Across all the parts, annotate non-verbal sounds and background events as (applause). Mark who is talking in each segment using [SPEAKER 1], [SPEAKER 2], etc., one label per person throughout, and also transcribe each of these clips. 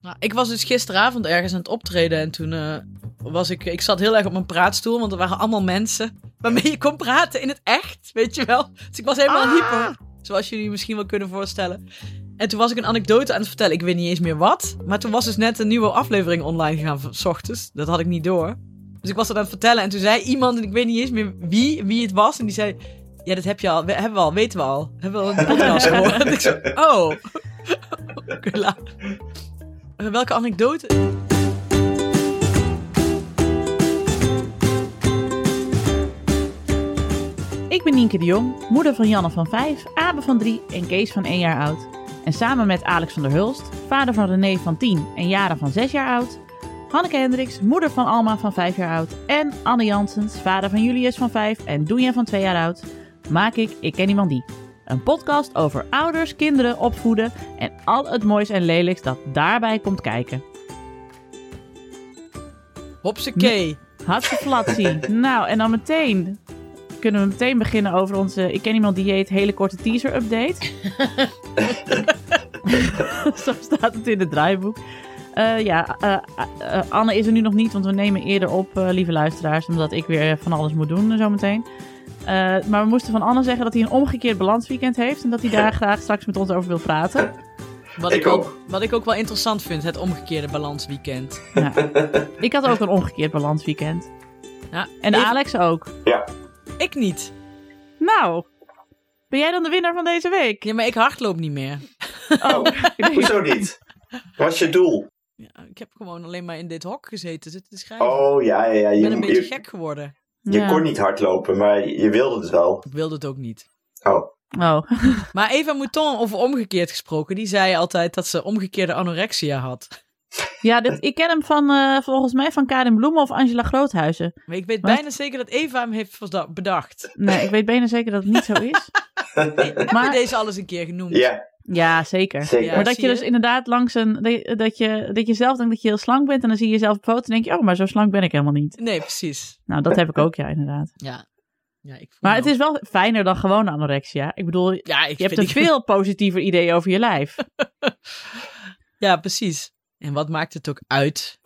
[SPEAKER 1] Nou, ik was dus gisteravond ergens aan het optreden en toen eh, was ik, ik zat heel erg op mijn praatstoel, want er waren allemaal mensen waarmee je kon praten in het echt, weet je wel. Dus ik was helemaal
[SPEAKER 2] Ah.
[SPEAKER 1] hyper, zoals jullie misschien wel kunnen voorstellen. En toen was ik een anekdote aan het vertellen, ik weet niet eens meer wat, maar toen was dus net een nieuwe aflevering online gegaan, van 's ochtends, dat had ik niet door. Dus ik was dat aan het vertellen en toen zei iemand, en ik weet niet eens meer wie, wie het was, en die zei, ja dat heb je al, we- hebben we al, weten we al, hebben we al een podcast gehoord. En ik zo, oh, (laughs) oké, laat. Eh, Welke anekdote?
[SPEAKER 3] Ik ben Nienke de Jong, moeder van Janne van 5, Abe van 3 en Kees van 1 jaar oud. En samen met Alex van der Hulst, vader van René van 10 en Jara van 6 jaar oud. Hanneke Hendricks, moeder van Alma van 5 jaar oud. En Anne Janssens, vader van Julius van 5 en Doenja van 2 jaar oud. Maak ik Ik Ken Iemand Die. Een podcast over ouders, kinderen, opvoeden en al het moois en lelijks dat daarbij komt kijken.
[SPEAKER 1] Hopsakee.
[SPEAKER 3] Hatseflatsie. nou, en dan meteen kunnen we meteen beginnen over onze Ik ken iemand dieet hele korte teaser update. (laughs) Zo staat het in het draaiboek. Eh, ja, eh, eh, eh, Anne is er nu nog niet, want we nemen eerder op, eh, lieve luisteraars, omdat ik weer van alles moet doen eh, zometeen. Eh, maar we moesten van Anne zeggen dat hij een omgekeerd balansweekend heeft en dat hij daar graag straks met ons over wil praten.
[SPEAKER 1] Wat
[SPEAKER 2] Ik
[SPEAKER 1] ik, ook.
[SPEAKER 2] ook.
[SPEAKER 1] wat ik ook wel interessant vind, het omgekeerde balansweekend.
[SPEAKER 3] Nou, ik had ook een omgekeerd balansweekend.
[SPEAKER 1] Ja,
[SPEAKER 3] En
[SPEAKER 1] even-
[SPEAKER 3] Alex ook.
[SPEAKER 1] Ik niet.
[SPEAKER 3] Nou, ben jij dan de winnaar van deze week?
[SPEAKER 1] Ja, maar ik hardloop niet meer.
[SPEAKER 2] Oh, (laughs) hoezo niet? Wat is je doel?
[SPEAKER 1] Ja, ik heb gewoon alleen maar in dit hok gezeten zitten te schrijven.
[SPEAKER 2] Oh, ja, ja, ja.
[SPEAKER 1] ik
[SPEAKER 2] Je,
[SPEAKER 1] ben een beetje
[SPEAKER 2] je,
[SPEAKER 1] gek geworden.
[SPEAKER 2] je
[SPEAKER 3] Ja.
[SPEAKER 2] kon niet hardlopen, maar je wilde het wel.
[SPEAKER 1] Ik wilde het ook niet.
[SPEAKER 2] Oh,
[SPEAKER 3] Oh,
[SPEAKER 1] Maar Eva Mouton, over omgekeerd gesproken, die zei altijd dat ze omgekeerde anorexia had.
[SPEAKER 3] ja, dit, ik ken hem van, eh, volgens mij van Karin Bloemen of Angela Groothuizen.
[SPEAKER 1] Maar ik weet
[SPEAKER 3] Wat?
[SPEAKER 1] bijna zeker dat Eva hem heeft verda- bedacht.
[SPEAKER 3] Nee, ik weet bijna zeker dat het niet zo
[SPEAKER 1] (laughs)
[SPEAKER 3] is.
[SPEAKER 1] Maar
[SPEAKER 3] Maar
[SPEAKER 1] deze alles een keer genoemd.
[SPEAKER 2] ja,
[SPEAKER 3] ja, zeker.
[SPEAKER 2] zeker.
[SPEAKER 1] Ja.
[SPEAKER 3] Maar dat
[SPEAKER 1] zie
[SPEAKER 3] je
[SPEAKER 1] je?
[SPEAKER 3] dus inderdaad langs een. dat- Dat je, dat je zelf denkt dat je heel slank bent. En dan zie je jezelf op foto en denk je, oh, maar zo slank ben ik helemaal niet.
[SPEAKER 1] Nee, precies.
[SPEAKER 3] Nou, dat heb ik ook, ja, inderdaad.
[SPEAKER 1] Ja. ja ik voel
[SPEAKER 3] Maar
[SPEAKER 1] me
[SPEAKER 3] het is wel fijner dan gewoon anorexia. Ik bedoel, je
[SPEAKER 1] ook- Ja, ik
[SPEAKER 3] hebt
[SPEAKER 1] Nou. vind
[SPEAKER 3] een
[SPEAKER 1] ik-
[SPEAKER 3] veel positiever idee over je lijf.
[SPEAKER 1] Ja, precies. En wat maakt het ook uit?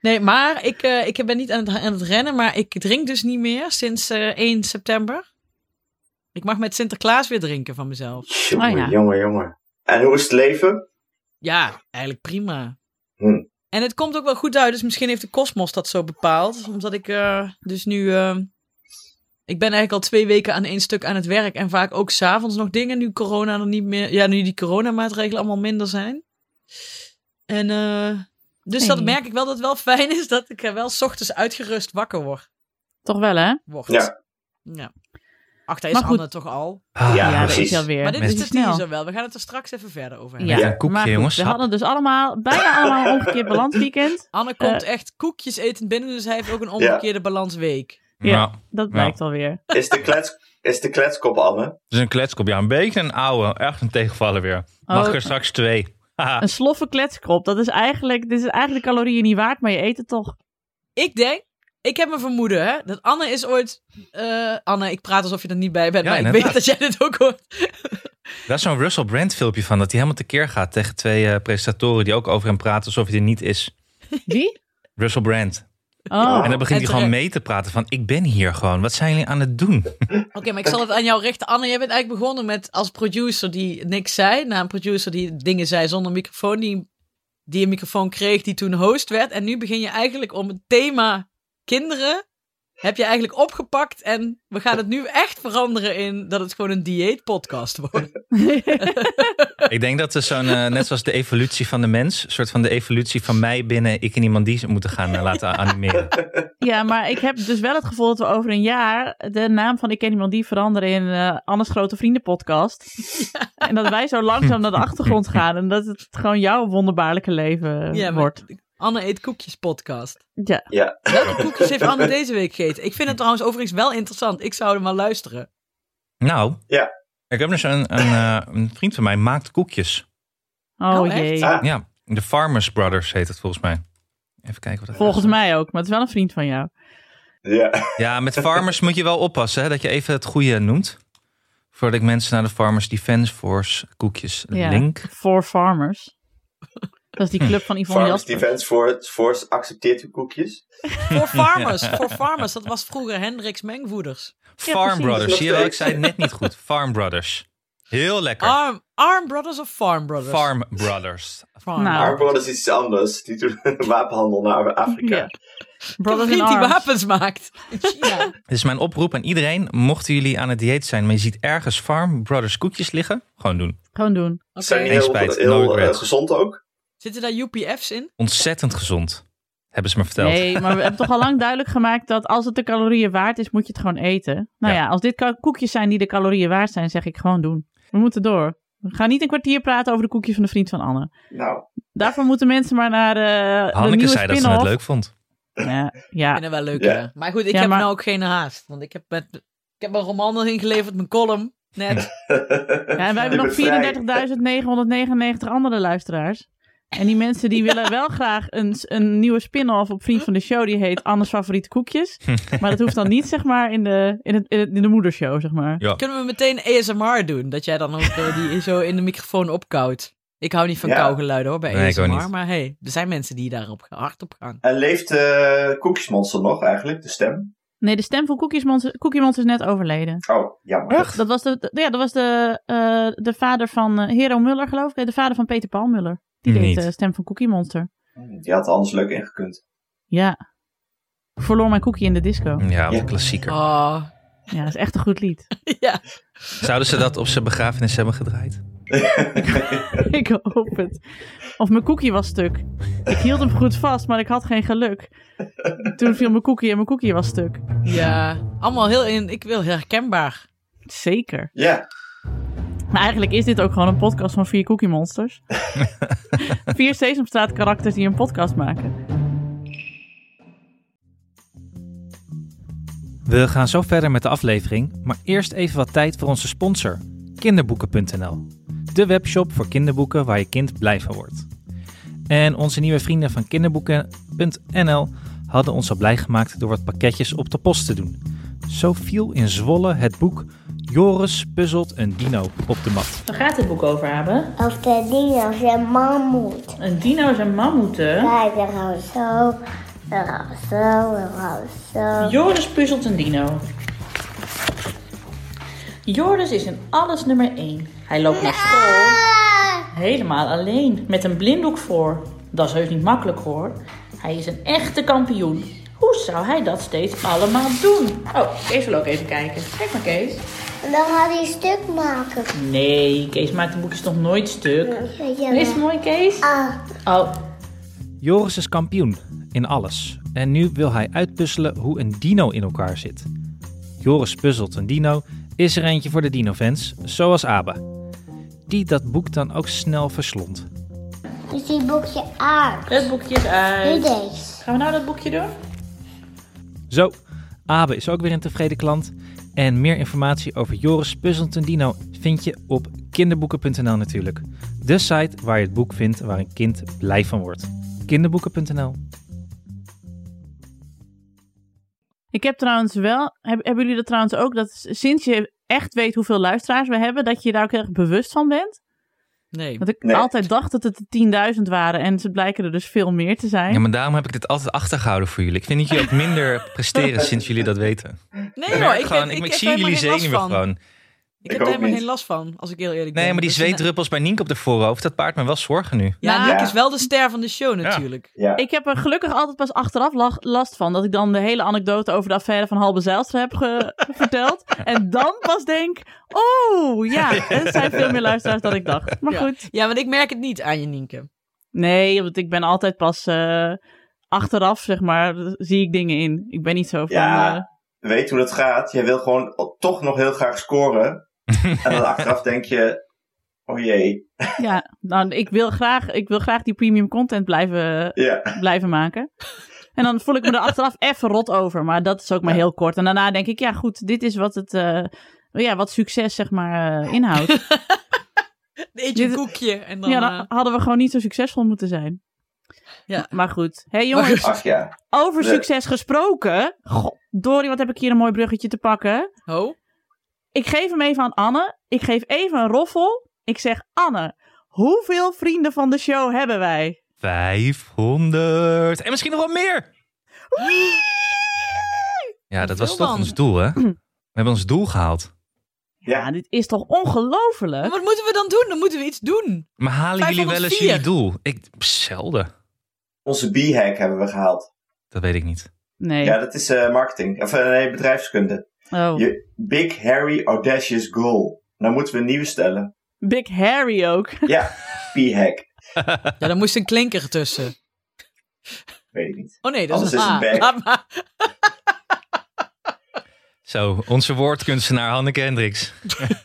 [SPEAKER 1] Nee, maar ik, eh, ik ben niet aan het, aan het rennen, maar ik drink dus niet meer sinds eh, 1 september. Ik mag met Sinterklaas weer drinken van mezelf.
[SPEAKER 2] Jongen,
[SPEAKER 3] Oh, ja.
[SPEAKER 2] jongen, jongen. En hoe is het leven?
[SPEAKER 1] Ja, eigenlijk prima.
[SPEAKER 2] Hm.
[SPEAKER 1] En het komt ook wel goed uit, dus misschien heeft de kosmos dat zo bepaald. Omdat ik eh, dus nu... eh, ik ben eigenlijk al twee weken aan één stuk aan het werk. En vaak ook s'avonds nog dingen, nu corona er niet meer... Ja, nu die coronamaatregelen allemaal minder zijn. En eh, dus dat
[SPEAKER 3] Hey.
[SPEAKER 1] merk ik wel dat het wel fijn is dat ik er wel 's ochtends uitgerust wakker wor-
[SPEAKER 3] Toch wel, hè?
[SPEAKER 1] word.
[SPEAKER 2] Ja.
[SPEAKER 1] ja. Ach, daar is
[SPEAKER 3] Maar goed.
[SPEAKER 1] Anne toch al.
[SPEAKER 3] Ah, Ja, dat
[SPEAKER 2] precies.
[SPEAKER 3] is alweer.
[SPEAKER 1] Maar dit
[SPEAKER 3] Mensen
[SPEAKER 1] is dus de
[SPEAKER 3] snel.
[SPEAKER 1] teaser wel. We gaan het er straks even verder over hebben.
[SPEAKER 3] Ja,
[SPEAKER 2] Ja,
[SPEAKER 3] maar
[SPEAKER 4] koekje,
[SPEAKER 3] goed,
[SPEAKER 4] jongens,
[SPEAKER 3] We
[SPEAKER 4] sap.
[SPEAKER 3] hadden dus allemaal, bijna allemaal een omgekeerd balansweekend.
[SPEAKER 1] Anne komt echt koekjes eten binnen, dus hij heeft ook een omgekeerde balansweek.
[SPEAKER 3] Ja.
[SPEAKER 4] Nou,
[SPEAKER 3] Dat blijkt alweer.
[SPEAKER 2] Is de, klets, is de kletskop, Anne?
[SPEAKER 4] het is een kletskop. Ja, een beetje een oude. Echt een tegenvaller weer. Mag
[SPEAKER 3] Oh.
[SPEAKER 4] ik er straks twee? (laughs) Haha.
[SPEAKER 3] Een sloffe kletskrop, dat is eigenlijk, dit is eigenlijk calorieën niet waard, maar je eet het toch.
[SPEAKER 1] Ik denk, ik heb een vermoeden, hè, dat Anne is ooit... eh, Anne, ik praat alsof je er niet bij bent,
[SPEAKER 4] Ja,
[SPEAKER 1] maar ik weet dat
[SPEAKER 4] inderdaad.
[SPEAKER 1] jij dit ook hoort.
[SPEAKER 4] Daar is zo'n Russell Brand filmpje van. Dat hij helemaal tekeer gaat tegen twee eh, presentatoren die ook over hem praten alsof hij er niet is.
[SPEAKER 3] Wie?
[SPEAKER 4] Russell Brand.
[SPEAKER 3] Oh,
[SPEAKER 4] En dan begint
[SPEAKER 1] En
[SPEAKER 4] hij gewoon
[SPEAKER 1] terecht.
[SPEAKER 4] mee te praten van ik ben hier gewoon. Wat zijn jullie aan
[SPEAKER 3] (laughs)
[SPEAKER 4] het doen?
[SPEAKER 1] Oké, maar ik zal het aan jou richten. Anne, jij bent eigenlijk begonnen met als producer die niks zei. Na een producer die dingen zei zonder microfoon, die, die een microfoon kreeg, die toen host werd. En nu begin je eigenlijk om het thema kinderen... Heb je eigenlijk opgepakt en we gaan het nu echt veranderen in dat het gewoon een dieetpodcast wordt.
[SPEAKER 4] ik denk dat het zo'n, eh, net zoals de evolutie van de mens, een soort van de evolutie van mij binnen ik en iemand die ze moeten gaan eh,
[SPEAKER 3] (laughs)
[SPEAKER 4] laten animeren.
[SPEAKER 3] (laughs) ja, maar ik heb dus wel het gevoel dat we over een jaar de naam van Ik Ken Iemand Die veranderen in eh Anne's Grote Vrienden
[SPEAKER 1] (laughs)
[SPEAKER 3] podcast. En dat wij zo langzaam naar de achtergrond gaan en dat het gewoon jouw wonderbaarlijke leven
[SPEAKER 1] Ja, maar-
[SPEAKER 3] eh, wordt.
[SPEAKER 1] Anne eet koekjes podcast.
[SPEAKER 3] Ja.
[SPEAKER 2] Ja.
[SPEAKER 1] Welke koekjes heeft Anne deze week gegeten? Ik vind het trouwens overigens wel interessant. Ik zou er maar luisteren.
[SPEAKER 4] Nou,
[SPEAKER 2] Ja.
[SPEAKER 4] ik heb dus een, een, eh, een vriend van mij maakt koekjes.
[SPEAKER 3] Oh,
[SPEAKER 1] Oh, echt?
[SPEAKER 3] jee.
[SPEAKER 2] Ah,
[SPEAKER 4] Ja, de Farmers Brothers heet het volgens mij. Even kijken wat dat
[SPEAKER 3] Volgens
[SPEAKER 4] is.
[SPEAKER 3] mij ook, maar het is wel een vriend van jou.
[SPEAKER 2] ja.
[SPEAKER 4] Ja, met Farmers moet je wel oppassen hè, dat je even het goede noemt. Voordat ik mensen naar de Farmers Defense Force koekjes
[SPEAKER 3] Ja.
[SPEAKER 4] link.
[SPEAKER 3] Voor farmers. Dat is die club van Yvonne
[SPEAKER 2] (laughs) Farmers
[SPEAKER 3] Jasper.
[SPEAKER 2] Defense Force- Force accepteert uw koekjes.
[SPEAKER 1] Voor
[SPEAKER 3] (laughs)
[SPEAKER 1] farmers, voor farmers. Dat was vroeger Hendricks Mengvoeders.
[SPEAKER 4] Farm
[SPEAKER 3] precies.
[SPEAKER 4] Brothers. Zie je wel, ik
[SPEAKER 2] Nog steeds.
[SPEAKER 4] zei het net niet
[SPEAKER 3] (laughs)
[SPEAKER 4] goed. Farm Brothers. Heel lekker.
[SPEAKER 1] Arm, arm Brothers of Farm Brothers?
[SPEAKER 4] Farm Brothers.
[SPEAKER 1] Farm.
[SPEAKER 3] Nou.
[SPEAKER 2] Our Brothers is iets anders. Die doen (laughs) wapenhandel naar Afrika.
[SPEAKER 3] Ja.
[SPEAKER 1] Een
[SPEAKER 3] Brothers in
[SPEAKER 1] vriend die
[SPEAKER 3] Arms.
[SPEAKER 1] wapens maakt. In
[SPEAKER 2] (laughs)
[SPEAKER 1] China.
[SPEAKER 4] Dus mijn oproep aan iedereen, mochten jullie aan het dieet zijn, maar je ziet ergens Farm Brothers koekjes liggen, gewoon doen.
[SPEAKER 3] Gewoon doen.
[SPEAKER 1] Oké.
[SPEAKER 2] Zijn die
[SPEAKER 4] Geen
[SPEAKER 2] heel,
[SPEAKER 4] spijt,
[SPEAKER 2] heel,
[SPEAKER 4] no
[SPEAKER 2] eh,
[SPEAKER 4] regrets.
[SPEAKER 2] gezond ook?
[SPEAKER 1] Zitten daar UPF's in?
[SPEAKER 4] Ontzettend gezond, hebben ze me verteld.
[SPEAKER 3] Nee, maar we hebben toch al lang duidelijk gemaakt dat als het de calorieën waard is, moet je het gewoon eten. Nou ja,
[SPEAKER 4] Ja.
[SPEAKER 3] als dit ka- koekjes zijn die de calorieën waard zijn, zeg ik gewoon doen. We moeten door. We gaan niet een kwartier praten over de koekjes van de vriend van Anne.
[SPEAKER 2] Nou,
[SPEAKER 3] Daarvoor moeten mensen maar naar eh, de
[SPEAKER 4] Hanneke
[SPEAKER 3] nieuwe
[SPEAKER 4] zei dat ze het leuk vond.
[SPEAKER 3] leuk. Ja, ja.
[SPEAKER 1] Ik vind het wel leuk,
[SPEAKER 2] Ja.
[SPEAKER 1] ja. Maar goed, ik
[SPEAKER 3] Ja,
[SPEAKER 1] heb
[SPEAKER 3] maar-
[SPEAKER 1] nou ook geen haast. Want ik heb, met, ik heb mijn roman nog ingeleverd, mijn column. Net.
[SPEAKER 3] Ja, en wij hebben
[SPEAKER 2] Ik ben vrij.
[SPEAKER 3] nog 34.999 andere luisteraars. En die mensen die willen wel graag een, een nieuwe spin-off op Vriend van de Show. Die heet Anne's Favoriete
[SPEAKER 4] (laughs)
[SPEAKER 3] Koekjes. Maar dat hoeft dan niet, zeg maar, in de, in het, in het- in de moedershow, zeg maar.
[SPEAKER 1] Oh. Kunnen we meteen ASMR doen? Dat jij dan ook eh, die zo in de microfoon opkouwt. Ik hou niet van
[SPEAKER 2] Ja.
[SPEAKER 1] kauwgeluiden hoor, bij
[SPEAKER 4] Nee, ik ook
[SPEAKER 1] ASMR.
[SPEAKER 4] niet.
[SPEAKER 1] Maar hey, er zijn mensen die daarop ge- hard op gaan.
[SPEAKER 2] (laughs) En leeft eh Koekjesmonster nog eigenlijk, de stem?
[SPEAKER 3] Nee, de stem van Cookie Monster, Cookie Monster is net overleden.
[SPEAKER 2] Oh, jammer.
[SPEAKER 3] Dat was de, de- ja, dat was de, eh, de vader van eh, Hero Muller, geloof ik. Nee, De vader van Peter Paul Muller. Die deed
[SPEAKER 4] Niet.
[SPEAKER 3] de stem van Cookie Monster.
[SPEAKER 2] Hm, Die had er anders leuk ingekund.
[SPEAKER 3] Ja. Verloor mijn cookie in de disco.
[SPEAKER 4] Ja,
[SPEAKER 2] Ja.
[SPEAKER 4] wat een klassieker.
[SPEAKER 1] Oh,
[SPEAKER 3] Ja, dat is echt een goed lied. (laughs)
[SPEAKER 1] ja.
[SPEAKER 4] Zouden ze dat op zijn begrafenis hebben gedraaid?
[SPEAKER 3] ik hoop het. Of mijn cookie was stuk. Ik hield hem goed vast, maar ik had geen geluk. Toen viel mijn cookie en mijn cookie was stuk.
[SPEAKER 1] Ja, allemaal heel in, ik wil herkenbaar.
[SPEAKER 3] Zeker.
[SPEAKER 2] Ja,
[SPEAKER 3] Maar eigenlijk is dit ook gewoon een podcast van vier Cookie Monsters. vier Sesamstraat karakters die een podcast maken.
[SPEAKER 4] We gaan zo verder met de aflevering, maar eerst even wat tijd voor onze sponsor, kinderboeken.nl. De webshop voor kinderboeken waar je kind blij van wordt. En onze nieuwe vrienden van kinderboeken.nl hadden ons al blij gemaakt door wat pakketjes op de post te doen. Zo viel in Zwolle het boek Joris puzzelt een dino op de mat.
[SPEAKER 3] Waar gaat het boek over hebben?
[SPEAKER 5] Of de dino's en mammoet.
[SPEAKER 3] Een dino's en mammoeten.
[SPEAKER 5] Kijk, er gaat zo, er gaat zo, er gaat zo.
[SPEAKER 3] Joris puzzelt een dino. Joris is in alles nummer 1. Hij loopt naar school helemaal alleen, met een blinddoek voor. Dat is heus niet makkelijk hoor. Hij is een echte kampioen. Hoe zou hij dat steeds allemaal doen? Oh, Kees wil ook even kijken. Kijk maar Kees.
[SPEAKER 5] En dan gaat hij stuk maken.
[SPEAKER 3] Nee, Kees maakt de boekjes nog nooit stuk.
[SPEAKER 5] Ja.
[SPEAKER 3] Is het mooi Kees?
[SPEAKER 5] Ah,
[SPEAKER 3] Oh,
[SPEAKER 4] Joris is kampioen in alles. En nu wil hij uitpuzzelen hoe een dino in elkaar zit. Joris puzzelt een dino is er eentje voor de dinofans, zoals Abe. Die dat boek dan ook snel verslond.
[SPEAKER 5] dus die boekje aard.
[SPEAKER 3] het boekje is
[SPEAKER 5] Nu
[SPEAKER 3] uit.
[SPEAKER 5] deze.
[SPEAKER 3] Gaan we nou dat boekje doen?
[SPEAKER 4] Zo, Abe is ook weer een tevreden klant. En meer informatie over Joris puzzelt een dino vind je op kinderboeken.nl natuurlijk. De site waar je het boek vindt waar een kind blij van wordt. kinderboeken.nl
[SPEAKER 3] Ik heb trouwens wel, heb- hebben jullie dat trouwens ook, dat sinds je echt weet hoeveel luisteraars we hebben, dat je daar ook heel erg bewust van bent?
[SPEAKER 1] Nee.
[SPEAKER 3] Want ik
[SPEAKER 2] Nee.
[SPEAKER 3] altijd dacht dat het er 10.000 waren en ze blijken er dus veel meer te zijn.
[SPEAKER 4] Ja, maar daarom heb ik dit altijd achtergehouden voor jullie. Ik vind dat jullie ook minder presteren sinds jullie dat weten.
[SPEAKER 1] Nee
[SPEAKER 4] merk
[SPEAKER 1] hoor, ik,
[SPEAKER 4] gewoon,
[SPEAKER 1] heb-
[SPEAKER 4] ik,
[SPEAKER 1] ik,
[SPEAKER 4] ik
[SPEAKER 1] heb
[SPEAKER 4] zie
[SPEAKER 1] helemaal
[SPEAKER 4] jullie
[SPEAKER 1] geen last
[SPEAKER 4] zenuwen
[SPEAKER 1] van.
[SPEAKER 4] gewoon.
[SPEAKER 1] Ik,
[SPEAKER 2] Ik
[SPEAKER 1] heb
[SPEAKER 2] ook
[SPEAKER 1] er helemaal
[SPEAKER 2] niet.
[SPEAKER 1] geen last van, als ik heel eerlijk ben.
[SPEAKER 4] Nee, maar die
[SPEAKER 1] Dus, nou,
[SPEAKER 4] zweetdruppels bij Nienke op de voorhoofd, dat baart me wel zorgen nu.
[SPEAKER 1] Ja,
[SPEAKER 3] Ja.
[SPEAKER 1] Nick is wel de ster van de show natuurlijk.
[SPEAKER 2] ja.
[SPEAKER 3] Ik heb er gelukkig altijd pas achteraf la- last van. Dat ik dan de hele anekdote over de affaire van Halbe Zijlstra heb ge- (laughs) verteld. En dan pas denk, oh ja, er zijn veel meer luisteraars dan ik dacht. Maar
[SPEAKER 1] Ja.
[SPEAKER 3] goed.
[SPEAKER 1] Ja, want ik merk het niet aan je, Nienke.
[SPEAKER 3] Nee, want ik ben altijd pas eh, achteraf, zeg maar, zie ik dingen in. Ik ben niet zo van...
[SPEAKER 2] Ja.
[SPEAKER 3] eh,
[SPEAKER 2] Weet hoe dat gaat. Jij wil gewoon o- toch nog heel graag
[SPEAKER 3] (laughs)
[SPEAKER 2] scoren. en dan achteraf denk je, oh jee.
[SPEAKER 3] ja. Nou, ik, wil graag, ik wil graag die premium content blijven,
[SPEAKER 2] Ja,
[SPEAKER 3] blijven maken. En dan voel ik me er achteraf even rot over. Maar dat is ook maar heel kort. En daarna denk ik, ja goed, dit is wat het... eh, ja, wat succes zeg maar eh, inhoudt.
[SPEAKER 1] Eet je
[SPEAKER 3] Dit-
[SPEAKER 1] een koekje en dan...
[SPEAKER 3] ja, dan
[SPEAKER 1] eh,
[SPEAKER 3] hadden we gewoon niet zo succesvol moeten zijn.
[SPEAKER 1] Ja.
[SPEAKER 3] Maar goed. Hé hey, jongens,
[SPEAKER 2] ach ja.
[SPEAKER 3] over
[SPEAKER 2] Nee.
[SPEAKER 3] succes gesproken. Dorie, wat heb ik hier een mooi bruggetje te pakken.
[SPEAKER 1] ho?
[SPEAKER 3] Ik geef hem even aan Anne. Ik geef even een roffel. Ik zeg, Anne, hoeveel vrienden van de show hebben wij?
[SPEAKER 4] 500. En misschien nog wel meer. Ja, dat was
[SPEAKER 1] Veel
[SPEAKER 4] toch
[SPEAKER 1] dan.
[SPEAKER 4] ons doel, hè? We hebben ons doel gehaald.
[SPEAKER 2] Ja,
[SPEAKER 3] Ja, dit is toch ongelofelijk?
[SPEAKER 1] Maar wat moeten we dan doen? Dan moeten we iets doen.
[SPEAKER 4] Maar halen jullie wel eens
[SPEAKER 1] 504?
[SPEAKER 4] jullie doel? Ik, zelden.
[SPEAKER 2] onze B-hack hebben we gehaald.
[SPEAKER 4] Dat weet ik niet.
[SPEAKER 3] Nee.
[SPEAKER 2] Ja, dat is eh, marketing. Of eh, nee, bedrijfskunde.
[SPEAKER 3] Oh.
[SPEAKER 2] Je, big, hairy, audacious goal. Dan moeten we een nieuwe stellen.
[SPEAKER 3] Big Harry ook. (laughs)
[SPEAKER 2] Ja, B-hack.
[SPEAKER 1] Ja, dan moest een klinker tussen.
[SPEAKER 2] Weet ik niet.
[SPEAKER 1] Oh nee, dat is
[SPEAKER 2] Anders
[SPEAKER 1] een
[SPEAKER 2] is
[SPEAKER 1] A.
[SPEAKER 2] het een
[SPEAKER 1] Laat maar.
[SPEAKER 4] Zo, onze woordkunstenaar Hanneke Hendricks.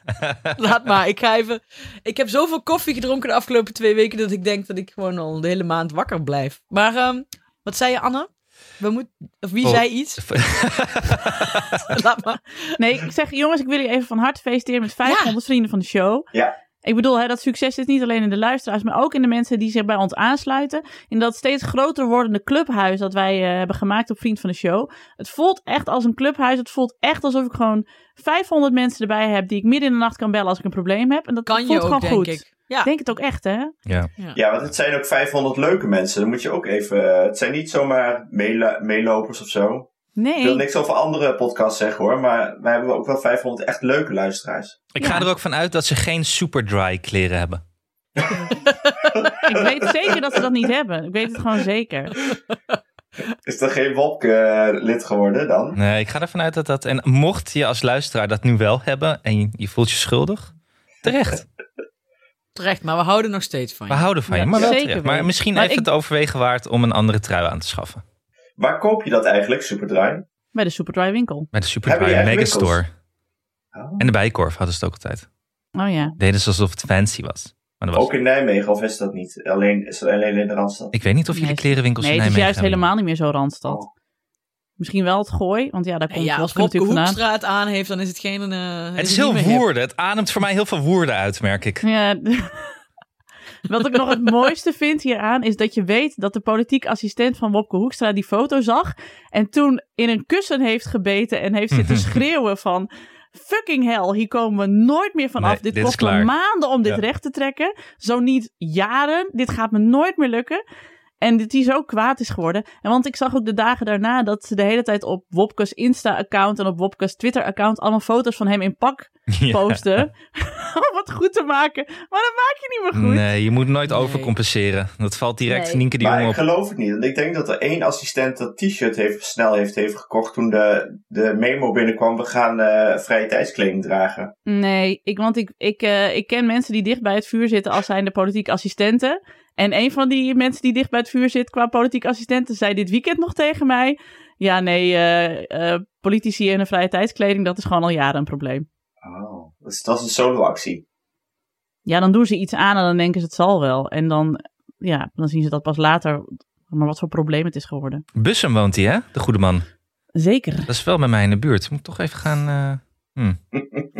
[SPEAKER 1] (laughs) Laat maar. Ik ga even... Ik heb zoveel koffie gedronken de afgelopen twee weken... dat ik denk dat ik gewoon al de hele maand wakker blijf. Maar ehm, wat zei je, Anne? We moet... Of wie
[SPEAKER 4] Oh.
[SPEAKER 1] zei iets? (laughs) Laat maar.
[SPEAKER 3] Nee, ik zeg jongens, ik wil jullie even van harte feliciteren met 500 vrienden van de show.
[SPEAKER 2] Ja.
[SPEAKER 3] Ik bedoel, hè, dat succes zit niet alleen in de luisteraars, maar ook in de mensen die zich bij ons aansluiten. In dat steeds groter wordende clubhuis dat wij eh, hebben gemaakt op Vriend van de Show. Het voelt echt als een clubhuis. Het voelt echt alsof ik gewoon 500 mensen erbij heb die ik midden in de nacht kan bellen als ik een probleem heb. En dat
[SPEAKER 1] Kan
[SPEAKER 3] voelt
[SPEAKER 1] je ook,
[SPEAKER 3] gewoon
[SPEAKER 1] denk
[SPEAKER 3] goed.
[SPEAKER 1] ik. Ja.
[SPEAKER 3] Ik denk het ook echt, hè?
[SPEAKER 4] Ja.
[SPEAKER 2] Ja, want het zijn ook 500 leuke mensen. Dan moet je ook even... eh, het zijn niet zomaar meela- meelopers of zo. Ik wil
[SPEAKER 3] Nee.
[SPEAKER 2] niks over andere podcasts zeggen hoor. Maar wij hebben ook wel 500 echt leuke luisteraars.
[SPEAKER 4] (laughs) Ik ga
[SPEAKER 3] Ja.
[SPEAKER 4] er ook van uit dat ze geen super dry kleren hebben.
[SPEAKER 3] Ik weet zeker dat ze dat niet hebben. Ik weet het gewoon zeker.
[SPEAKER 2] Is er geen Wopke eh, lid geworden dan?
[SPEAKER 4] Nee, ik ga ervan uit dat dat. En mocht je als luisteraar dat nu wel hebben en je, je voelt je schuldig, terecht.
[SPEAKER 1] Terecht, maar we houden nog steeds van
[SPEAKER 4] We
[SPEAKER 1] je.
[SPEAKER 4] houden van je,
[SPEAKER 3] Ja,
[SPEAKER 4] maar wel
[SPEAKER 3] zeker
[SPEAKER 4] terecht.
[SPEAKER 3] wel.
[SPEAKER 4] Maar misschien
[SPEAKER 3] Maar
[SPEAKER 4] even
[SPEAKER 3] ik-
[SPEAKER 4] het overwegen waard om een andere trui aan te schaffen.
[SPEAKER 2] Waar koop je dat eigenlijk, Superdry?
[SPEAKER 3] Bij de Superdry winkel.
[SPEAKER 4] Bij de
[SPEAKER 2] Hebben
[SPEAKER 4] Superdry
[SPEAKER 2] die echt
[SPEAKER 4] Megastore.
[SPEAKER 2] Oh.
[SPEAKER 4] En de Bijenkorf hadden ze het ook altijd.
[SPEAKER 3] Oh ja.
[SPEAKER 4] Deden ze alsof het fancy was. Maar dat was
[SPEAKER 2] Ook in Nijmegen of is dat niet? Alleen, is dat alleen in de Randstad?
[SPEAKER 4] Ik weet niet of jullie
[SPEAKER 3] Nee,
[SPEAKER 4] klerenwinkels
[SPEAKER 3] Nee,
[SPEAKER 4] in
[SPEAKER 3] het is
[SPEAKER 4] Nijmegen
[SPEAKER 3] juist
[SPEAKER 4] hebben.
[SPEAKER 3] helemaal niet meer zo Randstad.
[SPEAKER 2] Oh.
[SPEAKER 3] Misschien wel het gooi, want ja, daar komt
[SPEAKER 1] ja,
[SPEAKER 3] wel
[SPEAKER 1] als
[SPEAKER 3] veel
[SPEAKER 1] Bob de
[SPEAKER 3] natuurlijk vandaan.
[SPEAKER 1] Hoekstraat aan heeft, dan is het geen... eh,
[SPEAKER 4] Het is
[SPEAKER 1] niet
[SPEAKER 4] heel
[SPEAKER 1] meer hip.
[SPEAKER 4] woerden. Het ademt voor mij heel veel woerden uit,
[SPEAKER 3] (laughs)
[SPEAKER 4] merk ik.
[SPEAKER 3] Ja. eh, Wat ik nog het mooiste vind hieraan is dat je weet dat de politiek assistent van Wopke Hoekstra die foto zag en toen in een kussen heeft gebeten en heeft
[SPEAKER 4] (laughs)
[SPEAKER 3] zitten schreeuwen van fucking hell, hier komen we nooit meer vanaf.
[SPEAKER 4] Nee,
[SPEAKER 3] dit,
[SPEAKER 4] dit is
[SPEAKER 3] kost me
[SPEAKER 4] klaar."
[SPEAKER 3] maanden om dit
[SPEAKER 4] Ja.
[SPEAKER 3] recht te trekken, zo niet jaren. Dit gaat me nooit meer lukken. En dat die zo kwaad is geworden. En want ik zag ook de dagen daarna dat ze de hele tijd op Wopke's Insta-account en op Wopke's Twitter-account allemaal foto's van hem in pak
[SPEAKER 4] (laughs) Ja.
[SPEAKER 3] posten. (laughs) om het goed te maken. Maar dat maak je niet meer goed.
[SPEAKER 4] Nee, je moet nooit
[SPEAKER 1] Nee.
[SPEAKER 4] overcompenseren. Dat valt direct
[SPEAKER 3] Nee.
[SPEAKER 4] Nienke de
[SPEAKER 2] Maar
[SPEAKER 4] Jong
[SPEAKER 2] ik
[SPEAKER 4] op.
[SPEAKER 2] geloof het niet. Want ik denk dat er één assistent dat t-shirt heeft, snel heeft, heeft gekocht toen de, de memo binnenkwam. We gaan eh vrije tijdskleding dragen.
[SPEAKER 3] Nee, ik, want ik, ik, eh, ik ken mensen die dicht bij het vuur zitten als zijnde politiek assistenten. En een van die mensen die dicht bij het vuur zit qua politiek assistenten zei dit weekend nog tegen mij. Ja, nee, eh, eh, politici en een vrije tijdskleding, dat is gewoon al jaren een probleem.
[SPEAKER 2] Oh. Dus dat is een solo-actie.
[SPEAKER 3] Ja, dan doen ze iets aan en dan denken ze het zal wel. En dan, ja, dan zien ze dat pas later, maar wat voor probleem het is geworden.
[SPEAKER 4] Bussum woont hij, hè? De goede man.
[SPEAKER 3] Zeker.
[SPEAKER 4] Dat is wel bij mij in de buurt. Moet ik toch even gaan... eh,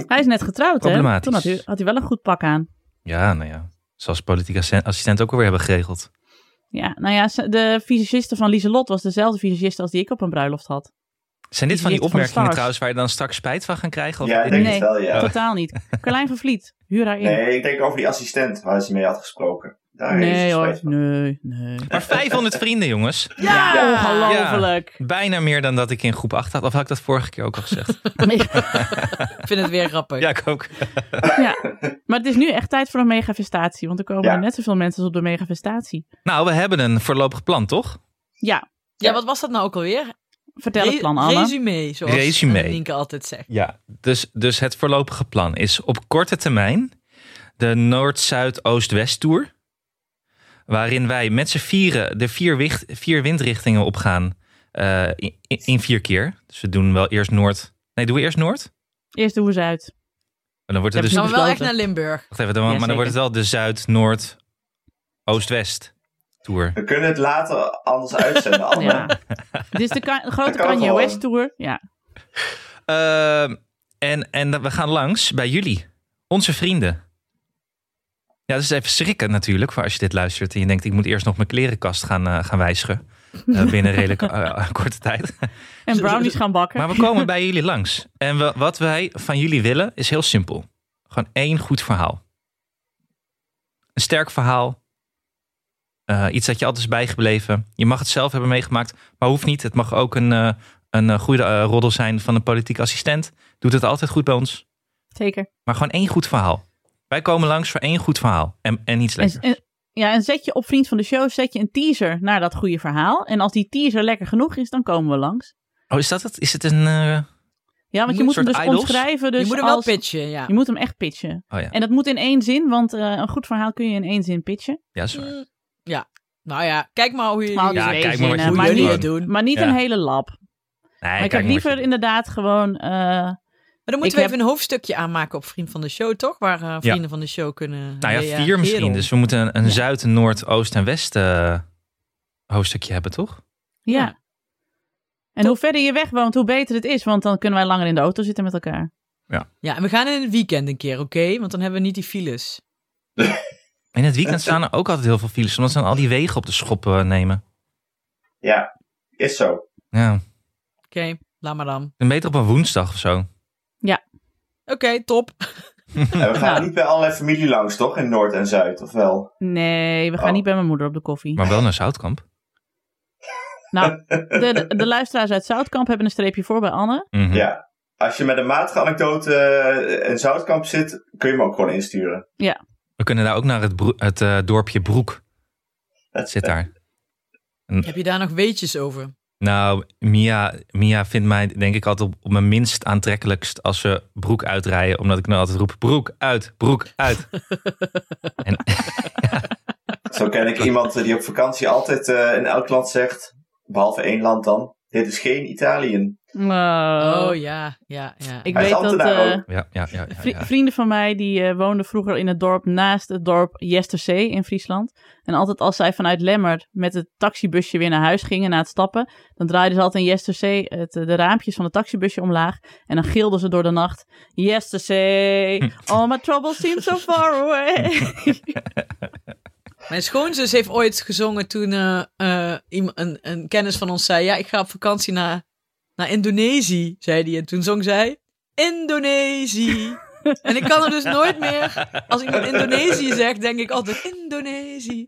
[SPEAKER 3] Hij is net getrouwd, hè?
[SPEAKER 4] Problematisch.
[SPEAKER 3] Toen had hij, had hij wel een goed pak aan.
[SPEAKER 4] Ja, nou ja. Zoals politiek assen- assistent ook alweer hebben geregeld.
[SPEAKER 3] Ja, nou ja, ze- de visagiste van Lieselot was dezelfde visagiste als die ik op een bruiloft had.
[SPEAKER 4] Zijn dit
[SPEAKER 3] Die
[SPEAKER 4] van
[SPEAKER 3] heeft van
[SPEAKER 4] die
[SPEAKER 3] de
[SPEAKER 4] opmerkingen
[SPEAKER 3] stars.
[SPEAKER 4] trouwens waar je dan straks spijt van gaan krijgen? Of
[SPEAKER 2] ja, ik denk
[SPEAKER 3] Nee.
[SPEAKER 2] het wel, ja.
[SPEAKER 3] Totaal niet. Carlijn van Vliet, huur haar in.
[SPEAKER 2] Nee, ik denk over die assistent waar ze mee had gesproken. Daar is het
[SPEAKER 3] nee hoor,
[SPEAKER 2] spijt van.
[SPEAKER 3] nee, nee.
[SPEAKER 4] Maar 500 vrienden, jongens.
[SPEAKER 1] Ja!
[SPEAKER 3] Ja, ongelooflijk.
[SPEAKER 4] Bijna meer dan dat ik in groep 8 had. Of had ik dat vorige keer ook al (laughs) gezegd?
[SPEAKER 1] Ik vind het weer grappig.
[SPEAKER 4] ja, ik ook.
[SPEAKER 3] Ja. Maar het is nu echt tijd voor een megafestatie, want er komen
[SPEAKER 2] Ja.
[SPEAKER 3] er net zoveel mensen als op de megafestatie.
[SPEAKER 4] Nou, we hebben een voorlopig plan, toch?
[SPEAKER 3] Ja,
[SPEAKER 1] Ja, wat was dat nou ook alweer?
[SPEAKER 3] vertel het
[SPEAKER 1] Re-
[SPEAKER 3] plan Anne.
[SPEAKER 1] Resume, zoals
[SPEAKER 4] Resume.
[SPEAKER 1] eh, Nienke altijd zegt.
[SPEAKER 4] Ja. Dus, dus het voorlopige plan is op korte termijn de Noord-Zuid-Oost-West-tour. Waarin wij met z'n vieren de vier, wicht, vier windrichtingen opgaan eh, in, in- in vier keer. Dus we doen wel eerst Noord. Nee, doen we eerst Noord?
[SPEAKER 3] Eerst doen we ze uit.
[SPEAKER 4] En dan wordt het
[SPEAKER 3] Ja,
[SPEAKER 4] dus
[SPEAKER 1] Gaan we wel
[SPEAKER 3] besloten.
[SPEAKER 1] echt naar Limburg.
[SPEAKER 4] Wacht even, dan, maar dan
[SPEAKER 3] Jazeker.
[SPEAKER 4] wordt het wel de Zuid, Noord, Oost, West tour.
[SPEAKER 2] We kunnen het later anders
[SPEAKER 3] (laughs)
[SPEAKER 2] uitzenden, Anne.
[SPEAKER 3] Ja. Dit is de ka- grote
[SPEAKER 2] Dat kan
[SPEAKER 3] Kanye
[SPEAKER 2] gewoon.
[SPEAKER 3] West Tour. Ja.
[SPEAKER 4] Ehm, en, en dat- we gaan langs bij jullie, onze vrienden. Ja, dat is even schrikken natuurlijk, voor als je dit luistert en je denkt, ik moet eerst nog mijn klerenkast gaan, eh, gaan wijzigen. eh, binnen redelijk eh, korte tijd.
[SPEAKER 3] En brownies gaan bakken.
[SPEAKER 4] Maar we komen bij jullie langs. En we- wat wij van jullie willen is heel simpel. Gewoon één goed verhaal. Een sterk verhaal. Eh, iets dat je altijd is bijgebleven. Je mag het zelf hebben meegemaakt, maar hoeft niet. Het mag ook een, eh, een eh, goede eh, roddel zijn van een politiek assistent. Doet het altijd goed bij ons.
[SPEAKER 3] Zeker.
[SPEAKER 4] Maar gewoon één goed verhaal. Wij komen langs voor één goed verhaal. En, en iets
[SPEAKER 3] En,
[SPEAKER 4] lekkers.
[SPEAKER 3] en- ja, en zet je op Vriend van de Show zet je een teaser naar dat goede verhaal. En als die teaser lekker genoeg is, dan komen we langs.
[SPEAKER 4] Oh, is dat het? Is het een... eh,
[SPEAKER 3] Ja, want je
[SPEAKER 4] Een
[SPEAKER 3] moet hem
[SPEAKER 4] soort
[SPEAKER 3] dus
[SPEAKER 4] idols?
[SPEAKER 3] omschrijven. Dus
[SPEAKER 1] je moet hem wel
[SPEAKER 3] als-
[SPEAKER 1] pitchen, ja.
[SPEAKER 3] Je moet hem echt pitchen.
[SPEAKER 4] Oh ja,
[SPEAKER 3] En dat moet in één zin, want eh, een goed verhaal kun je in één zin pitchen.
[SPEAKER 4] ja, sorry.
[SPEAKER 1] Mm, ja. Nou ja, kijk maar hoe jullie,
[SPEAKER 3] Maar
[SPEAKER 4] Ja,
[SPEAKER 3] twee
[SPEAKER 4] kijk maar
[SPEAKER 3] zinnen,
[SPEAKER 4] wat je
[SPEAKER 1] hoe
[SPEAKER 4] doet.
[SPEAKER 1] jullie
[SPEAKER 3] niet-
[SPEAKER 1] het doen. Maar
[SPEAKER 3] Maar niet
[SPEAKER 4] Ja.
[SPEAKER 3] een hele lab.
[SPEAKER 4] Nee,
[SPEAKER 3] Maar ik heb
[SPEAKER 4] kijk maar wat je
[SPEAKER 3] liever
[SPEAKER 4] doet.
[SPEAKER 3] inderdaad gewoon... eh,
[SPEAKER 1] dan
[SPEAKER 3] Ik
[SPEAKER 1] moeten we
[SPEAKER 3] heb-
[SPEAKER 1] even een hoofdstukje aanmaken op Vriend van de Show, toch? Waar eh, vrienden van de show kunnen
[SPEAKER 4] Nou ja,
[SPEAKER 1] reageren.
[SPEAKER 4] vier misschien. Dus we moeten een, een Zuid, een Noord, Oost en West eh, hoofdstukje hebben, toch?
[SPEAKER 3] ja.
[SPEAKER 1] Ja.
[SPEAKER 3] En hoe verder je weg woont, hoe beter het is. Want dan kunnen wij langer in de auto zitten met elkaar.
[SPEAKER 1] Ja, en we gaan in het weekend een keer, oké? Want dan hebben we niet die files.
[SPEAKER 4] In het weekend staan er ook altijd heel veel files, omdat ze dan al die wegen op de schop eh, nemen.
[SPEAKER 2] Ja, is
[SPEAKER 3] (laughs)
[SPEAKER 2] zo.
[SPEAKER 4] Ja,
[SPEAKER 1] Oké, laat maar dan.
[SPEAKER 4] dan beter op een woensdag of zo.
[SPEAKER 1] Oké, top.
[SPEAKER 2] En we gaan
[SPEAKER 3] Nou.
[SPEAKER 2] niet bij allerlei familie langs, toch? In Noord en Zuid, of wel?
[SPEAKER 3] Nee, we gaan
[SPEAKER 2] Oh.
[SPEAKER 3] niet bij mijn moeder op de koffie.
[SPEAKER 4] Maar wel naar Zoutkamp.
[SPEAKER 3] Nou, de, de, de luisteraars uit Zoutkamp hebben een streepje voor bij Anne.
[SPEAKER 4] Mhm.
[SPEAKER 2] Ja. Als je met een matige anekdote eh, in Zoutkamp zit, kun je hem ook gewoon insturen.
[SPEAKER 4] We kunnen daar ook naar het, broe- het eh, dorpje Broek. Dat zit daar.
[SPEAKER 1] Heb je daar nog weetjes over?
[SPEAKER 4] Nou, Mia, Mia vindt mij denk ik altijd op, op mijn minst aantrekkelijkst als ze broek uitrijden. Omdat ik nou altijd roep, broek uit, broek uit.
[SPEAKER 2] Zo ken
[SPEAKER 3] (laughs)
[SPEAKER 2] ik iemand eh, die op vakantie altijd eh, in elk land zegt, behalve één land dan, dit is geen Italië.
[SPEAKER 1] Oh,
[SPEAKER 3] Oh,
[SPEAKER 1] ja, ja, ja.
[SPEAKER 3] Eh, Ik
[SPEAKER 2] Hij is
[SPEAKER 3] weet dat
[SPEAKER 2] ambtenaar
[SPEAKER 3] eh,
[SPEAKER 2] ook.
[SPEAKER 4] Ja, ja, ja. ja,
[SPEAKER 3] vri-
[SPEAKER 4] ja.
[SPEAKER 3] vrienden van mij die eh, woonden vroeger in het dorp naast het dorp Jesterzee in Friesland. En altijd als zij vanuit Lemmer met het taxibusje weer naar huis gingen na het stappen, dan draaiden ze altijd in Jesterzee het, eh, de raampjes van het taxibusje omlaag. En dan gilden ze door de nacht:
[SPEAKER 4] (laughs)
[SPEAKER 3] Jesterzee, all my troubles seem so far (laughs) away.
[SPEAKER 1] Mijn schoonzus heeft ooit gezongen toen eh, eh, iem- een, een kennis van ons zei... Ja, ik ga op vakantie naar, naar Indonesië, zei die. En toen zong zij... Indonesië. en ik kan er dus nooit meer... Als iemand Indonesië zegt, denk ik altijd... Indonesië.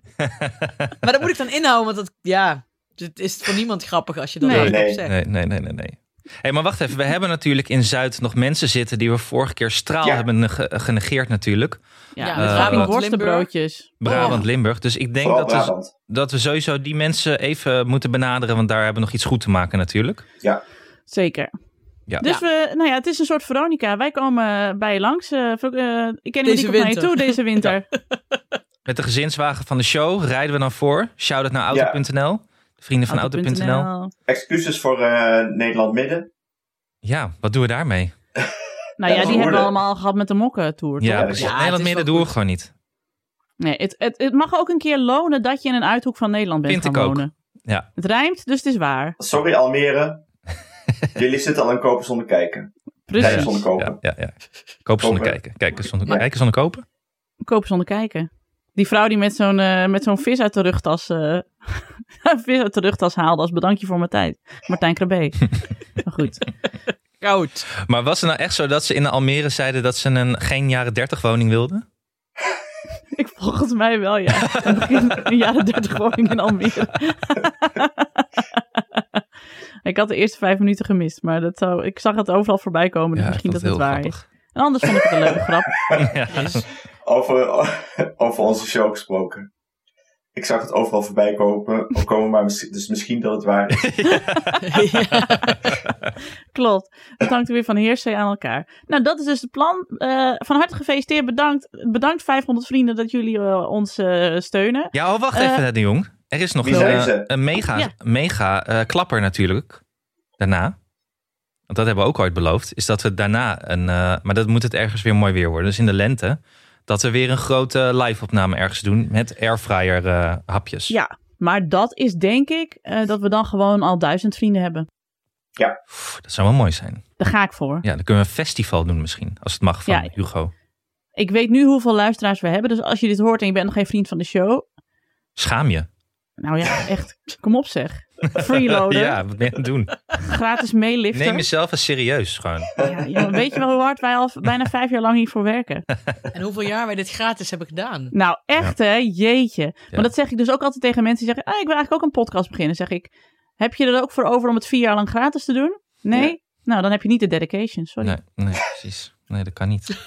[SPEAKER 1] maar dat moet ik dan inhouden, want dat... Ja, het is voor niemand grappig als je dat
[SPEAKER 3] Nee.
[SPEAKER 1] hardop
[SPEAKER 2] Nee.
[SPEAKER 1] zegt.
[SPEAKER 4] Nee, nee, nee, nee. nee. hey, maar wacht even. We hebben natuurlijk in Zuid nog mensen zitten die we vorige keer straal
[SPEAKER 2] Ja.
[SPEAKER 4] hebben nege- genegeerd natuurlijk.
[SPEAKER 3] ja,
[SPEAKER 1] Ja,
[SPEAKER 3] met
[SPEAKER 4] eh,
[SPEAKER 3] fucking
[SPEAKER 1] wat-
[SPEAKER 3] worstenbroodjes.
[SPEAKER 4] Brabant-Limburg. Dus ik denk
[SPEAKER 2] Oh. Vooral
[SPEAKER 4] dat we,
[SPEAKER 2] Brabant.
[SPEAKER 4] dat we sowieso die mensen even moeten benaderen. Want daar hebben we nog iets goed te maken natuurlijk.
[SPEAKER 3] Zeker.
[SPEAKER 4] Ja.
[SPEAKER 3] Dus we, nou ja, het is een soort Veronica. Wij komen bij je langs. eh, Ver- eh, ik ken jullie
[SPEAKER 1] Deze
[SPEAKER 3] komt naar je
[SPEAKER 1] winter.
[SPEAKER 3] toe deze winter.
[SPEAKER 4] Met de gezinswagen van de show rijden we dan voor. Shout-out naar
[SPEAKER 2] Ja.
[SPEAKER 4] auto.nl. De vrienden (laughs) van auto.nl.
[SPEAKER 2] Excuses voor eh, Nederland Midden.
[SPEAKER 4] Ja, wat doen we daarmee?
[SPEAKER 3] Nou ja,
[SPEAKER 2] Ja, dat
[SPEAKER 3] die hebben we
[SPEAKER 2] worden.
[SPEAKER 3] allemaal gehad met de mokken tour.
[SPEAKER 4] Ja,
[SPEAKER 2] Ja,
[SPEAKER 4] precies.
[SPEAKER 1] het is
[SPEAKER 4] Nederland
[SPEAKER 1] wel
[SPEAKER 4] midden
[SPEAKER 1] goed.
[SPEAKER 4] doen we gewoon niet.
[SPEAKER 3] Nee, het, het, het mag ook een keer lonen dat je in een uithoek van Nederland bent
[SPEAKER 4] Vind
[SPEAKER 3] gaan
[SPEAKER 4] ik ook.
[SPEAKER 3] wonen.
[SPEAKER 4] Ja.
[SPEAKER 3] Het rijmt, dus het is waar.
[SPEAKER 2] Sorry
[SPEAKER 3] (laughs)
[SPEAKER 2] Almere. Jullie zitten al aan kopen zonder kijken.
[SPEAKER 3] Precies.
[SPEAKER 2] Kijken zonder kopen.
[SPEAKER 4] Ja, ja, ja. Kopen zonder
[SPEAKER 2] Kopen.
[SPEAKER 4] kijken. Kijken zonder,
[SPEAKER 2] Ja.
[SPEAKER 4] kijken zonder kopen.
[SPEAKER 3] Kopen zonder kijken. Die vrouw die met zo'n eh, met zo'n vis uit de rugtas, eh, (laughs) vis uit de rugtas haalde als bedankje voor mijn tijd. Martijn Krabbe.
[SPEAKER 4] (laughs)
[SPEAKER 3] maar goed.
[SPEAKER 1] Koud.
[SPEAKER 4] Maar was het nou echt zo dat ze in Almere zeiden dat ze een geen jaren 30 woning wilden?
[SPEAKER 3] Ik volgens mij wel, ja. Aan het begin van de jaren 30 woning in Almere. (laughs) ik had de eerste vijf minuten gemist, maar dat zou, ik zag het overal voorbij komen. Dus misschien dat het waar is. En anders vond ik het een leuke
[SPEAKER 4] (laughs)
[SPEAKER 3] grap.
[SPEAKER 4] Ja.
[SPEAKER 2] Over, (laughs) over onze show gesproken. Ik zag het overal voorbij komen, komen maar mis- dus misschien dat het waar
[SPEAKER 4] (laughs)
[SPEAKER 2] is.
[SPEAKER 1] (laughs) ja.
[SPEAKER 3] Klopt. Het hangt er weer van heersee aan elkaar. Nou, dat is dus het plan. Eh, van harte gefeliciteerd. Bedankt, bedankt 500 vrienden dat jullie eh, ons eh, steunen.
[SPEAKER 4] Ja, oh, wacht
[SPEAKER 3] Eh,
[SPEAKER 4] even, de Jong. Er is nog
[SPEAKER 2] wie
[SPEAKER 4] een,
[SPEAKER 2] zijn
[SPEAKER 4] eh,
[SPEAKER 2] ze?
[SPEAKER 4] een mega,
[SPEAKER 3] Ja.
[SPEAKER 4] mega eh, klapper natuurlijk. Daarna. Want dat hebben we ook ooit beloofd. Is dat we daarna een. eh, maar dat moet het ergens weer mooi weer worden. Dus in de lente. Dat we weer een grote live-opname ergens doen. Met airfryer eh, hapjes.
[SPEAKER 3] Ja. Maar dat is denk ik eh, dat we dan gewoon al duizend vrienden hebben.
[SPEAKER 4] Pff, Dat zou wel mooi zijn.
[SPEAKER 3] Daar ga ik voor.
[SPEAKER 4] Ja, dan kunnen we een festival doen misschien. Als het mag van
[SPEAKER 3] Ja.
[SPEAKER 4] Hugo.
[SPEAKER 3] Ik weet nu hoeveel luisteraars we hebben. Dus als je dit hoort en je bent nog geen vriend van de show.
[SPEAKER 4] Schaam je. (laughs)
[SPEAKER 3] Nou ja, echt. Kom op zeg. Freeloader.
[SPEAKER 4] Ja, wat ben je aan het doen?
[SPEAKER 3] Gratis meelifter.
[SPEAKER 4] Neem jezelf eens serieus gewoon.
[SPEAKER 3] Ja, ja, maar weet je wel hoe hard wij al v- bijna vijf jaar lang hiervoor werken?
[SPEAKER 1] En hoeveel jaar wij dit gratis hebben gedaan.
[SPEAKER 3] Nou, echt hè, jeetje.
[SPEAKER 4] Ja.
[SPEAKER 3] Maar dat zeg ik dus ook altijd tegen mensen die zeggen, ah, ik wil eigenlijk ook een podcast beginnen. Zeg ik, heb je er ook voor over om het vier jaar lang gratis te doen? Nee?
[SPEAKER 2] Ja.
[SPEAKER 3] Nou, dan heb je niet de dedication, sorry.
[SPEAKER 4] Nee, nee, precies. Nee, dat kan niet.
[SPEAKER 3] (laughs)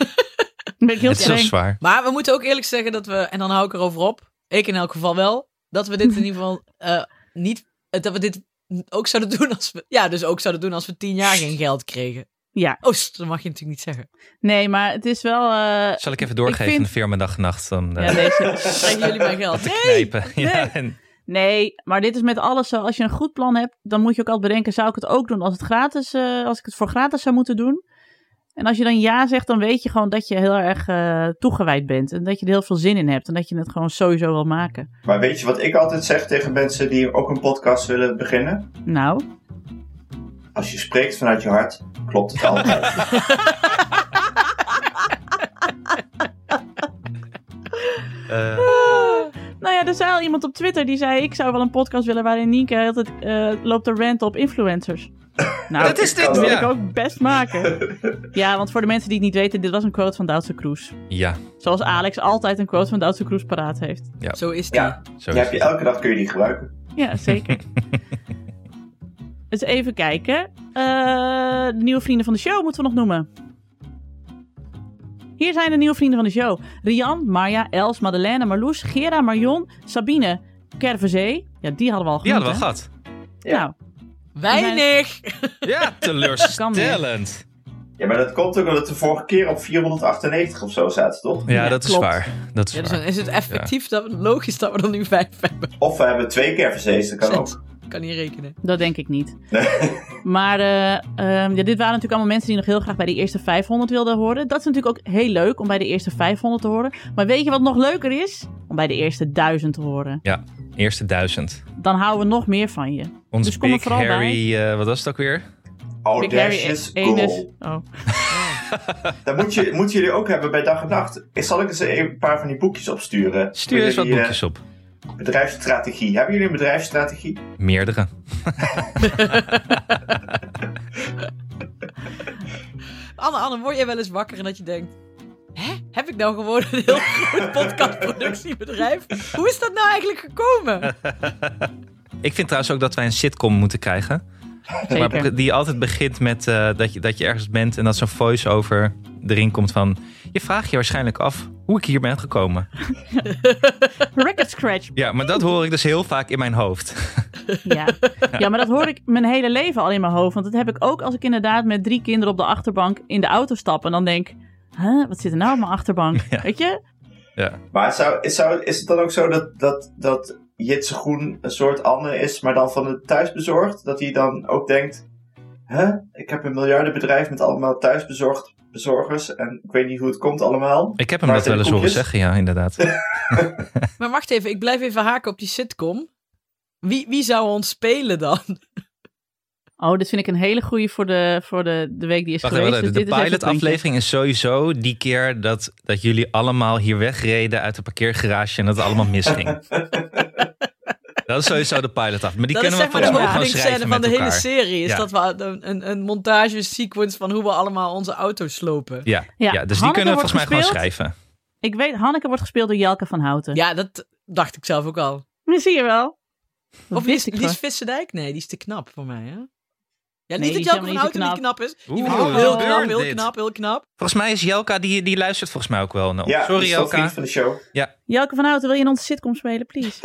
[SPEAKER 3] Dan ben ik heel
[SPEAKER 4] Het is zo
[SPEAKER 3] streng.
[SPEAKER 4] zwaar.
[SPEAKER 1] Maar we moeten ook eerlijk zeggen dat we, en dan hou ik erover op, ik in elk geval wel, dat we dit in ieder geval eh, niet, eh, dat we dit ook zouden doen als we, ja, dus ook zouden doen als we tien jaar geen geld kregen.
[SPEAKER 3] Ja.
[SPEAKER 1] Oh, st, dat mag je natuurlijk niet zeggen.
[SPEAKER 3] Nee, maar het is wel... eh,
[SPEAKER 4] Zal ik even doorgeven
[SPEAKER 3] vind-
[SPEAKER 4] in de firma dag en nacht? Dan, eh, (laughs)
[SPEAKER 3] ja, deze.
[SPEAKER 1] Krijgen jullie mijn geld? Nee!
[SPEAKER 4] knijpen.
[SPEAKER 3] nee.
[SPEAKER 4] (laughs) Ja, en,
[SPEAKER 3] Nee, maar dit is met alles zo. Als je een goed plan hebt, dan moet je ook altijd bedenken: zou ik het ook doen als, het gratis, eh, als ik het voor gratis zou moeten doen? En als je dan ja zegt, dan weet je gewoon dat je heel erg eh, toegewijd bent. En dat je er heel veel zin in hebt. En dat je het gewoon sowieso wil maken.
[SPEAKER 2] Maar weet je wat ik altijd zeg tegen mensen die ook een podcast willen beginnen?
[SPEAKER 3] Nou,
[SPEAKER 2] Als je spreekt vanuit je hart, klopt
[SPEAKER 4] (laughs)
[SPEAKER 2] het altijd.
[SPEAKER 4] eh,
[SPEAKER 3] nou ja, er zei al iemand op Twitter die zei: Ik zou wel een podcast willen waarin Nienke altijd eh, loopt te ranten op
[SPEAKER 4] (coughs)
[SPEAKER 3] influencers. Nou,
[SPEAKER 4] dat is dit.
[SPEAKER 3] dat wil ik
[SPEAKER 4] Ja.
[SPEAKER 3] ook best maken. Ja, want voor de mensen die het niet weten, dit was een quote van Duitse Kroes.
[SPEAKER 4] ja,
[SPEAKER 3] Zoals Alex altijd een quote van Duitse Kroes paraat heeft.
[SPEAKER 1] Zo is die.
[SPEAKER 2] ja,
[SPEAKER 4] zo
[SPEAKER 2] die
[SPEAKER 4] is
[SPEAKER 2] heb je,
[SPEAKER 4] het.
[SPEAKER 2] elke dag kun je die gebruiken.
[SPEAKER 3] Ja,
[SPEAKER 4] (laughs)
[SPEAKER 3] zeker. dus even kijken. Eh, de nieuwe vrienden van de show moeten we nog noemen. Hier zijn de nieuwe vrienden van de show. Rian, Marja, Els, Madeleine, Marloes, Gera, Marion, Sabine, Kervezee. Ja, die hadden we al
[SPEAKER 4] Die
[SPEAKER 3] genoemd,
[SPEAKER 4] hadden we gehad.
[SPEAKER 3] hè?
[SPEAKER 2] Ja.
[SPEAKER 3] Nou,
[SPEAKER 1] Weinig!
[SPEAKER 3] (laughs)
[SPEAKER 4] Ja, teleurstellend.
[SPEAKER 2] Ja, maar dat komt ook omdat de vorige keer op 498 of zo zaten, toch?
[SPEAKER 4] Ja,
[SPEAKER 3] Ja,
[SPEAKER 4] dat is
[SPEAKER 3] klopt.
[SPEAKER 4] waar. Dat is
[SPEAKER 1] Ja, dus dan
[SPEAKER 4] waar.
[SPEAKER 1] is het effectief dat we, logisch dat we er nu vijf hebben.
[SPEAKER 2] Of we hebben twee keer verzees, dat kan
[SPEAKER 1] Zes.
[SPEAKER 2] ook.
[SPEAKER 1] Kan niet rekenen.
[SPEAKER 3] dat denk ik niet.
[SPEAKER 2] Nee.
[SPEAKER 3] Maar eh, ehm, ja, dit waren natuurlijk allemaal mensen die nog heel graag bij die eerste 500 wilden horen. Dat is natuurlijk ook heel leuk om bij de eerste 500 te horen. Maar weet je wat nog leuker is? Om bij de eerste 1000 te horen.
[SPEAKER 4] Eerste duizend.
[SPEAKER 3] Dan houden we nog meer van je.
[SPEAKER 4] Ons
[SPEAKER 3] Dus kom er
[SPEAKER 4] Big
[SPEAKER 3] vooral bij.
[SPEAKER 4] Harry, eh, wat was het ook weer?
[SPEAKER 2] Oh,
[SPEAKER 3] Big Harry
[SPEAKER 2] Audacious
[SPEAKER 4] eh,
[SPEAKER 3] Anus.
[SPEAKER 2] goal.
[SPEAKER 3] Oh.
[SPEAKER 2] Dat moet je, moeten jullie ook hebben bij dag en nacht. Zal ik eens een paar van die boekjes opsturen?
[SPEAKER 4] Stuur eens wat
[SPEAKER 2] Jullie, eh,
[SPEAKER 4] boekjes op.
[SPEAKER 2] Bedrijfsstrategie. Hebben jullie een bedrijfsstrategie?
[SPEAKER 4] Meerdere.
[SPEAKER 1] Anne, Anne, word jij wel eens wakker en dat je denkt... Hè? Heb ik nou gewoon een heel (laughs) groot podcastproductiebedrijf? Hoe is dat nou eigenlijk gekomen?
[SPEAKER 4] Ik vind trouwens ook dat wij een sitcom moeten krijgen.
[SPEAKER 3] Zeker.
[SPEAKER 4] Maar die altijd begint met eh, dat, je, dat je ergens bent en dat zo'n voice-over erin komt van... Je vraagt je waarschijnlijk af hoe ik hier ben gekomen.
[SPEAKER 3] Record scratch.
[SPEAKER 4] Ja, maar dat hoor ik dus heel vaak in mijn hoofd. (laughs)
[SPEAKER 3] Ja. ja, maar dat hoor ik mijn hele leven al in mijn hoofd. Want dat heb ik ook als ik inderdaad met drie kinderen op de achterbank in de auto stap. En dan denk, huh, wat zit er nou op mijn achterbank?
[SPEAKER 4] (laughs)
[SPEAKER 3] Weet je?
[SPEAKER 4] Ja.
[SPEAKER 2] Maar zou, zou, is het dan ook zo dat, dat, dat Jitse Groen een soort Anne is, maar dan van het thuisbezorgd? Dat hij dan ook denkt, hè, ik heb een miljardenbedrijf met allemaal thuisbezorgd bezorgers en ik weet niet hoe het komt allemaal.
[SPEAKER 4] Ik heb hem
[SPEAKER 2] Maar
[SPEAKER 4] dat wel eens
[SPEAKER 2] de
[SPEAKER 4] horen
[SPEAKER 2] koekjes?
[SPEAKER 4] zeggen, ja, inderdaad.
[SPEAKER 1] Maar wacht even, ik blijf even haken op die sitcom. Wie, wie zou ons spelen dan?
[SPEAKER 3] Oh, dit vind ik een hele goeie voor de, voor de, de week die is
[SPEAKER 4] Wacht even,
[SPEAKER 3] geweest. Dus
[SPEAKER 4] wacht even. de
[SPEAKER 3] dit is even het puntje.
[SPEAKER 4] pilotaflevering is sowieso die keer dat, dat jullie allemaal hier wegreden uit de parkeergarage en dat het allemaal
[SPEAKER 2] (laughs)
[SPEAKER 4] misging. dat is sowieso de pilotaf. Maar die
[SPEAKER 1] dat is
[SPEAKER 4] kunnen
[SPEAKER 1] zeg
[SPEAKER 4] we
[SPEAKER 1] maar
[SPEAKER 4] volgens
[SPEAKER 1] de
[SPEAKER 4] mij gewoon
[SPEAKER 1] openingscène
[SPEAKER 4] schrijven met
[SPEAKER 1] van de hele
[SPEAKER 4] elkaar.
[SPEAKER 1] serie. Is
[SPEAKER 4] Ja.
[SPEAKER 1] dat we een, een, een montage-sequence van hoe we allemaal onze auto's slopen.
[SPEAKER 4] Ja, ja,
[SPEAKER 3] Ja, Hanneke
[SPEAKER 4] dus die kunnen we
[SPEAKER 3] wordt
[SPEAKER 4] volgens mij gewoon
[SPEAKER 3] gespeeld.
[SPEAKER 4] schrijven.
[SPEAKER 3] Ik weet, Hanneke wordt gespeeld door Jelke van Houten.
[SPEAKER 1] Ja, dat dacht ik zelf ook al.
[SPEAKER 3] Dat zie je wel. Dat
[SPEAKER 1] Of Lies,
[SPEAKER 3] wist ik
[SPEAKER 1] Lies
[SPEAKER 3] wel.
[SPEAKER 1] Visserdijk? Nee, die is te knap voor mij, hè? Ja,
[SPEAKER 3] Nee,
[SPEAKER 1] niet dat
[SPEAKER 3] die is
[SPEAKER 1] Jelke van
[SPEAKER 3] helemaal
[SPEAKER 1] Houten
[SPEAKER 3] niet
[SPEAKER 1] niet knap is. Die
[SPEAKER 4] Oeh,
[SPEAKER 1] vind ik wel
[SPEAKER 4] wat
[SPEAKER 1] heel
[SPEAKER 4] gebeurt
[SPEAKER 1] knap, heel
[SPEAKER 4] dit?
[SPEAKER 1] knap, heel knap.
[SPEAKER 4] Volgens mij is Jelka, die, die luistert volgens mij ook wel. naar ons.
[SPEAKER 2] Ja,
[SPEAKER 4] Sorry
[SPEAKER 2] die is ook
[SPEAKER 4] Jelka.
[SPEAKER 2] vriend van de show.
[SPEAKER 3] Jelke van Houten, wil je in onze sitcom spelen, please?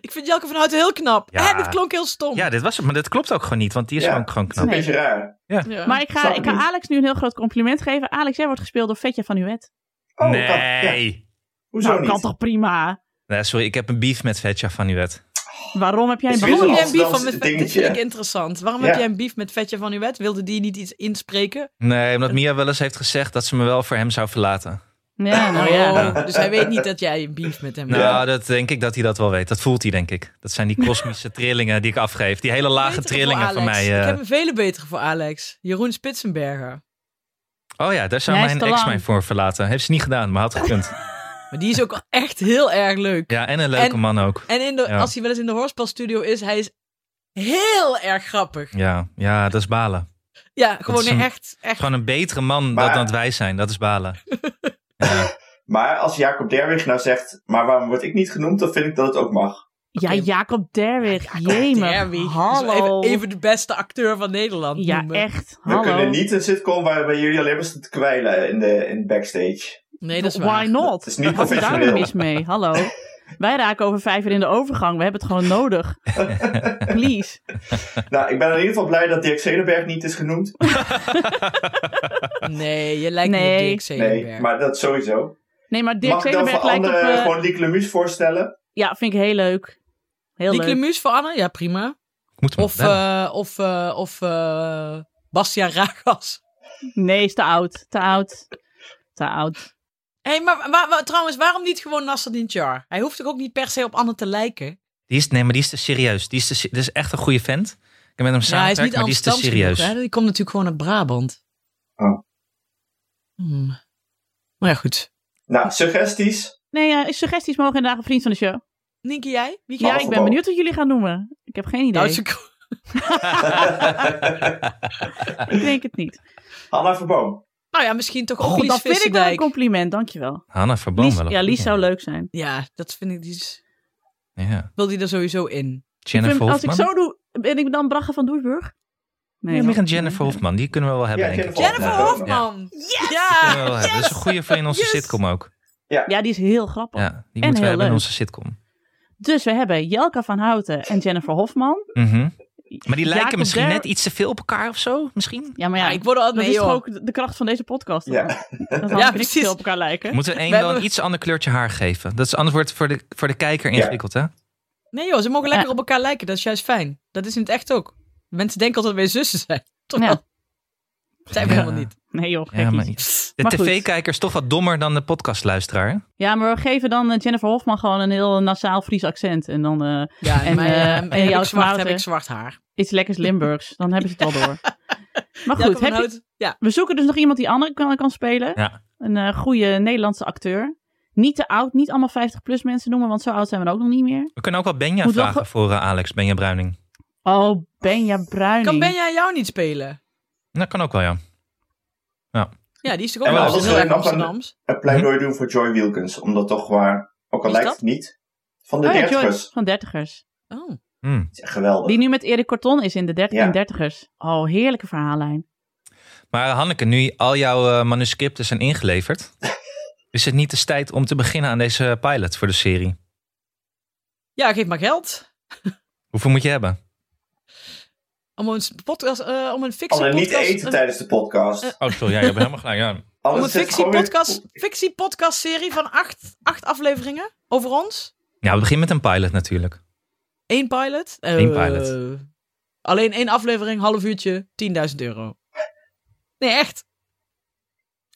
[SPEAKER 1] Ik vind Jelke van Houten heel knap.
[SPEAKER 4] Ja.
[SPEAKER 1] En het klonk heel stom.
[SPEAKER 4] Ja, dit was het, maar dat klopt ook gewoon niet, want die is
[SPEAKER 2] Ja.
[SPEAKER 4] gewoon, gewoon
[SPEAKER 2] Dat is een
[SPEAKER 4] knap.
[SPEAKER 3] Nee.
[SPEAKER 2] beetje raar.
[SPEAKER 1] Ja.
[SPEAKER 3] Maar ik ga,
[SPEAKER 2] Snap
[SPEAKER 3] ik
[SPEAKER 2] ik
[SPEAKER 3] ga
[SPEAKER 2] niet.
[SPEAKER 3] Alex nu een heel groot compliment geven. Alex, jij wordt gespeeld door Vetje van Huet.
[SPEAKER 2] Oh,
[SPEAKER 4] nee.
[SPEAKER 2] kan- ja, hoezo
[SPEAKER 3] Nou, kan
[SPEAKER 2] niet?
[SPEAKER 3] toch prima?
[SPEAKER 4] Nee, sorry, ik heb een beef met Vetja van Uwet.
[SPEAKER 3] Waarom heb jij een
[SPEAKER 2] Is
[SPEAKER 1] Waarom
[SPEAKER 2] weer
[SPEAKER 1] heb
[SPEAKER 2] zo'n
[SPEAKER 1] jij een beef van
[SPEAKER 2] Amsterdamse
[SPEAKER 1] met Dit
[SPEAKER 2] dingetje.
[SPEAKER 1] vind ik interessant. Waarom
[SPEAKER 2] Ja.
[SPEAKER 1] heb jij een beef met Vetje van Uwet? Wilde die niet iets inspreken?
[SPEAKER 4] Nee, omdat Mia wel eens heeft gezegd dat ze me wel voor hem zou verlaten.
[SPEAKER 3] Ja, nou ja.
[SPEAKER 1] Oh, dus hij weet niet dat jij een beef met hem
[SPEAKER 4] Nou,
[SPEAKER 1] hebt.
[SPEAKER 2] Ja.
[SPEAKER 4] dat denk ik dat hij dat wel weet. Dat voelt hij, denk ik. Dat zijn die kosmische trillingen die ik afgeef. Die hele lage
[SPEAKER 1] Betere
[SPEAKER 4] trillingen
[SPEAKER 1] voor
[SPEAKER 4] van
[SPEAKER 1] Alex.
[SPEAKER 4] mij. eh.
[SPEAKER 1] Ik heb een vele betere voor Alex. Jeroen Spitsenberger.
[SPEAKER 4] Oh ja, daar zou
[SPEAKER 3] Jij is
[SPEAKER 4] mijn
[SPEAKER 3] te
[SPEAKER 4] ex
[SPEAKER 3] lang.
[SPEAKER 4] mij voor verlaten. Heeft ze niet gedaan, maar had gekund.
[SPEAKER 1] Maar die is ook wel echt heel erg leuk.
[SPEAKER 4] Ja, en een leuke
[SPEAKER 1] En-
[SPEAKER 4] man ook.
[SPEAKER 1] En in de,
[SPEAKER 4] Ja.
[SPEAKER 1] als hij wel eens in de hoorspelstudio is, hij is heel erg grappig.
[SPEAKER 4] Ja, ja, dat is balen. Het
[SPEAKER 1] Ja, gewoon
[SPEAKER 4] is een-
[SPEAKER 1] echt,
[SPEAKER 4] is
[SPEAKER 1] echt.
[SPEAKER 4] Gewoon een betere man
[SPEAKER 2] Maar-
[SPEAKER 4] dan, dan wij zijn. Dat is balen. Ja,
[SPEAKER 2] Maar als Jacob Derwig nou zegt, maar waarom word ik niet genoemd, dan vind ik dat het ook mag.
[SPEAKER 3] Ja,
[SPEAKER 1] Oké.
[SPEAKER 3] Jacob Derwig.
[SPEAKER 1] Ja,
[SPEAKER 3] Jemig.
[SPEAKER 1] Derby.
[SPEAKER 3] Hallo.
[SPEAKER 1] Dus even, even de beste acteur van Nederland
[SPEAKER 3] ja,
[SPEAKER 1] noemen.
[SPEAKER 3] echt.
[SPEAKER 2] We
[SPEAKER 3] Hallo.
[SPEAKER 2] kunnen niet een sitcom waarbij jullie alleen maar staan te kwijlen in de in
[SPEAKER 4] (laughs)
[SPEAKER 2] backstage.
[SPEAKER 1] Nee, dat is waar.
[SPEAKER 3] Why
[SPEAKER 2] Het is
[SPEAKER 3] not?
[SPEAKER 2] niet
[SPEAKER 3] Wat is daar nu
[SPEAKER 2] professioneel.
[SPEAKER 3] mis mee? Hallo. Wij raken over vijf uur in de overgang. We hebben het gewoon
[SPEAKER 2] (laughs)
[SPEAKER 3] nodig. Please.
[SPEAKER 2] Nou, ik ben in ieder geval blij dat Dirk Zedenberg niet is genoemd.
[SPEAKER 1] Nee, je lijkt niet op
[SPEAKER 3] Nee.
[SPEAKER 1] Dirk Zelenberg.
[SPEAKER 2] Nee, maar dat sowieso.
[SPEAKER 3] Nee, maar Dirk
[SPEAKER 2] Mag ik dan
[SPEAKER 3] Zelenberg
[SPEAKER 2] voor
[SPEAKER 3] lijkt op...
[SPEAKER 2] anderen
[SPEAKER 3] eh,
[SPEAKER 2] gewoon Lieke Lemus voorstellen?
[SPEAKER 3] Ja, vind ik heel leuk. Heel
[SPEAKER 1] Dick
[SPEAKER 3] leuk.
[SPEAKER 1] Lemus voor Anne? Ja, prima.
[SPEAKER 4] moet hem
[SPEAKER 1] Of,
[SPEAKER 4] bellen.
[SPEAKER 1] eh, of, eh, of eh, Bastiaan Ragas.
[SPEAKER 3] Nee, is te oud. Te oud. Te oud.
[SPEAKER 1] Hé, hey, maar wa- wa- trouwens, waarom niet gewoon Nasser Char? Hij hoeft toch ook niet per se op Anne te lijken?
[SPEAKER 4] Die is, nee, maar die is te serieus. Die is, te, se- dit is echt een goede vent. Ik heb met hem
[SPEAKER 1] Ja, hij is
[SPEAKER 4] samengewerkt,
[SPEAKER 1] niet
[SPEAKER 4] maar die is te
[SPEAKER 1] Amsterdams
[SPEAKER 4] serieus.
[SPEAKER 1] genoeg, hè? Die komt natuurlijk gewoon uit Brabant.
[SPEAKER 2] Oh.
[SPEAKER 1] Hmm. Maar ja, goed.
[SPEAKER 2] Nou, suggesties?
[SPEAKER 3] Nee, eh, suggesties mogen inderdaad een vriend van de show.
[SPEAKER 1] Nienke, jij? Wie
[SPEAKER 2] Ja,
[SPEAKER 3] Ja,
[SPEAKER 1] jij?
[SPEAKER 3] ik ben benieuwd wat jullie gaan noemen. Ik heb geen idee.
[SPEAKER 1] Nou, ze-
[SPEAKER 3] Ik denk het niet.
[SPEAKER 2] Hanna Verboom.
[SPEAKER 1] (laughs) nou ja, misschien toch ook
[SPEAKER 3] Goed,
[SPEAKER 1] Lies
[SPEAKER 3] Oh, dat vind ik wel een
[SPEAKER 1] Visserdijk.
[SPEAKER 3] compliment. Dankjewel.
[SPEAKER 4] Hanna Verboom
[SPEAKER 3] Lies,
[SPEAKER 4] wel. een
[SPEAKER 3] ja, Lies
[SPEAKER 4] goeie.
[SPEAKER 3] zou leuk zijn.
[SPEAKER 1] Ja, dat vind ik. Die is-
[SPEAKER 4] Ja.
[SPEAKER 1] wil die er sowieso in?
[SPEAKER 4] Jennifer
[SPEAKER 3] Ik vind- als ik
[SPEAKER 4] Hofman.
[SPEAKER 3] zo doe, ben ik dan Bragge van Doesburg?
[SPEAKER 4] Ja, meer
[SPEAKER 3] man.
[SPEAKER 4] een Jennifer Hofman. Die kunnen we wel hebben,
[SPEAKER 2] Ja,
[SPEAKER 4] denk ik.
[SPEAKER 2] Jennifer
[SPEAKER 1] Jennifer
[SPEAKER 2] Ja.
[SPEAKER 1] Hofman!
[SPEAKER 4] Die
[SPEAKER 1] Ja!
[SPEAKER 4] kunnen we wel hebben. Dat is een goede van in onze
[SPEAKER 1] Yes!
[SPEAKER 4] sitcom ook.
[SPEAKER 3] Ja, die is heel grappig.
[SPEAKER 4] Ja, die moeten we
[SPEAKER 3] heel
[SPEAKER 4] hebben in
[SPEAKER 3] leuk.
[SPEAKER 4] onze sitcom.
[SPEAKER 3] Dus we hebben Jelka van Houten en Jennifer Hofman.
[SPEAKER 4] Mhm. Maar die lijken
[SPEAKER 3] Jacob
[SPEAKER 4] misschien
[SPEAKER 3] Der-
[SPEAKER 4] net iets te veel op elkaar of zo, misschien?
[SPEAKER 3] Ja, maar ja,
[SPEAKER 1] Ja, ik word er altijd
[SPEAKER 3] dat
[SPEAKER 1] mee,
[SPEAKER 3] is toch
[SPEAKER 1] joh.
[SPEAKER 3] ook de- de kracht van deze podcast.
[SPEAKER 2] Ja. (laughs)
[SPEAKER 3] Dat we
[SPEAKER 1] Ja, precies.
[SPEAKER 3] ja, precies. op elkaar lijken.
[SPEAKER 4] Moeten we één
[SPEAKER 1] We
[SPEAKER 4] wel een
[SPEAKER 1] hebben-
[SPEAKER 4] iets ander kleurtje haar geven? Dat is anders wordt voor de, voor de kijker ingewikkeld, hè?
[SPEAKER 1] Nee joh, ze mogen lekker
[SPEAKER 3] Ja.
[SPEAKER 1] op elkaar lijken. Dat is juist fijn. Dat is in het echt ook. Mensen denken altijd dat wij zussen zijn. (laughs) Toch?
[SPEAKER 3] Ja.
[SPEAKER 1] Dat zijn we
[SPEAKER 4] Ja.
[SPEAKER 1] helemaal niet.
[SPEAKER 3] Nee joh,
[SPEAKER 4] Ja,
[SPEAKER 3] ja,
[SPEAKER 4] maar- De
[SPEAKER 3] Maar goed.
[SPEAKER 4] tv-kijker is toch wat dommer dan de podcastluisteraar. hè?
[SPEAKER 3] ja, maar we geven dan eh, Jennifer Hofman gewoon een heel nasaal Fries accent. En dan eh,
[SPEAKER 1] Ja, en,
[SPEAKER 3] En,
[SPEAKER 1] mijn,
[SPEAKER 3] eh,
[SPEAKER 1] eh,
[SPEAKER 3] en
[SPEAKER 1] heb ik
[SPEAKER 3] jouw
[SPEAKER 1] zwart,
[SPEAKER 3] smaad,
[SPEAKER 1] heb
[SPEAKER 3] hè?
[SPEAKER 1] ik zwart haar.
[SPEAKER 3] iets lekkers Limburgs. Dan hebben ze het
[SPEAKER 1] (laughs)
[SPEAKER 3] wel door. Maar
[SPEAKER 1] Jacob
[SPEAKER 3] goed,
[SPEAKER 1] van
[SPEAKER 3] heb je,
[SPEAKER 1] Hout, Ja,
[SPEAKER 3] we zoeken dus nog iemand die Anne kan, kan spelen.
[SPEAKER 4] Ja.
[SPEAKER 3] Een eh, goede Nederlandse acteur. Niet te oud, niet allemaal 50-plus mensen noemen, want zo oud zijn we dan ook nog niet meer.
[SPEAKER 4] We kunnen ook wel Benja
[SPEAKER 3] Moet wel
[SPEAKER 4] vragen
[SPEAKER 3] ge-
[SPEAKER 4] voor eh, Alex, Benja Bruining.
[SPEAKER 3] Oh, Benja Bruining.
[SPEAKER 1] kan Benja jou niet spelen?
[SPEAKER 4] Dat kan ook wel, ja.
[SPEAKER 1] Ja, die is toch
[SPEAKER 2] En
[SPEAKER 1] ook
[SPEAKER 2] wel,
[SPEAKER 1] wel
[SPEAKER 2] dat
[SPEAKER 1] heel
[SPEAKER 2] is
[SPEAKER 1] erg
[SPEAKER 2] nog een-
[SPEAKER 1] Amsterdams.
[SPEAKER 2] Een pleidooi doen voor Joy Wilkins. Omdat toch waar, ook
[SPEAKER 1] Wie
[SPEAKER 2] al
[SPEAKER 1] is
[SPEAKER 2] lijkt
[SPEAKER 1] dat?
[SPEAKER 2] het niet, van de
[SPEAKER 3] Oh ja,
[SPEAKER 2] dertigers.
[SPEAKER 3] Joyce van dertigers.
[SPEAKER 1] Oh.
[SPEAKER 4] Hm.
[SPEAKER 2] Het is echt Geweldig.
[SPEAKER 3] Die nu met Erik Corton is in de dert
[SPEAKER 2] Ja.
[SPEAKER 3] in dertigers. Oh, heerlijke verhaallijn.
[SPEAKER 4] Maar eh, Hanneke, nu al jouw eh, manuscripten zijn (laughs) ingeleverd, is het niet de tijd om te beginnen aan deze pilot voor de serie?
[SPEAKER 1] Ja, geef maar geld.
[SPEAKER 4] Hoeveel moet je hebben?
[SPEAKER 1] Om een, podcast, eh, om een
[SPEAKER 2] Anne,
[SPEAKER 1] fictiepodcast...
[SPEAKER 2] niet eten
[SPEAKER 1] een-
[SPEAKER 2] tijdens de podcast.
[SPEAKER 4] Oh, sorry, ja, je hebt helemaal gelijk. Ja.
[SPEAKER 1] Om een
[SPEAKER 2] Anders zit het gewoon weer-
[SPEAKER 1] fictiepodcast fictie serie van acht, acht afleveringen over ons.
[SPEAKER 4] ja, we beginnen met een pilot natuurlijk.
[SPEAKER 1] Eén pilot.
[SPEAKER 4] Eén
[SPEAKER 1] Eh,
[SPEAKER 4] pilot.
[SPEAKER 1] Alleen één aflevering, half uurtje, 10.000 euro. Nee, echt.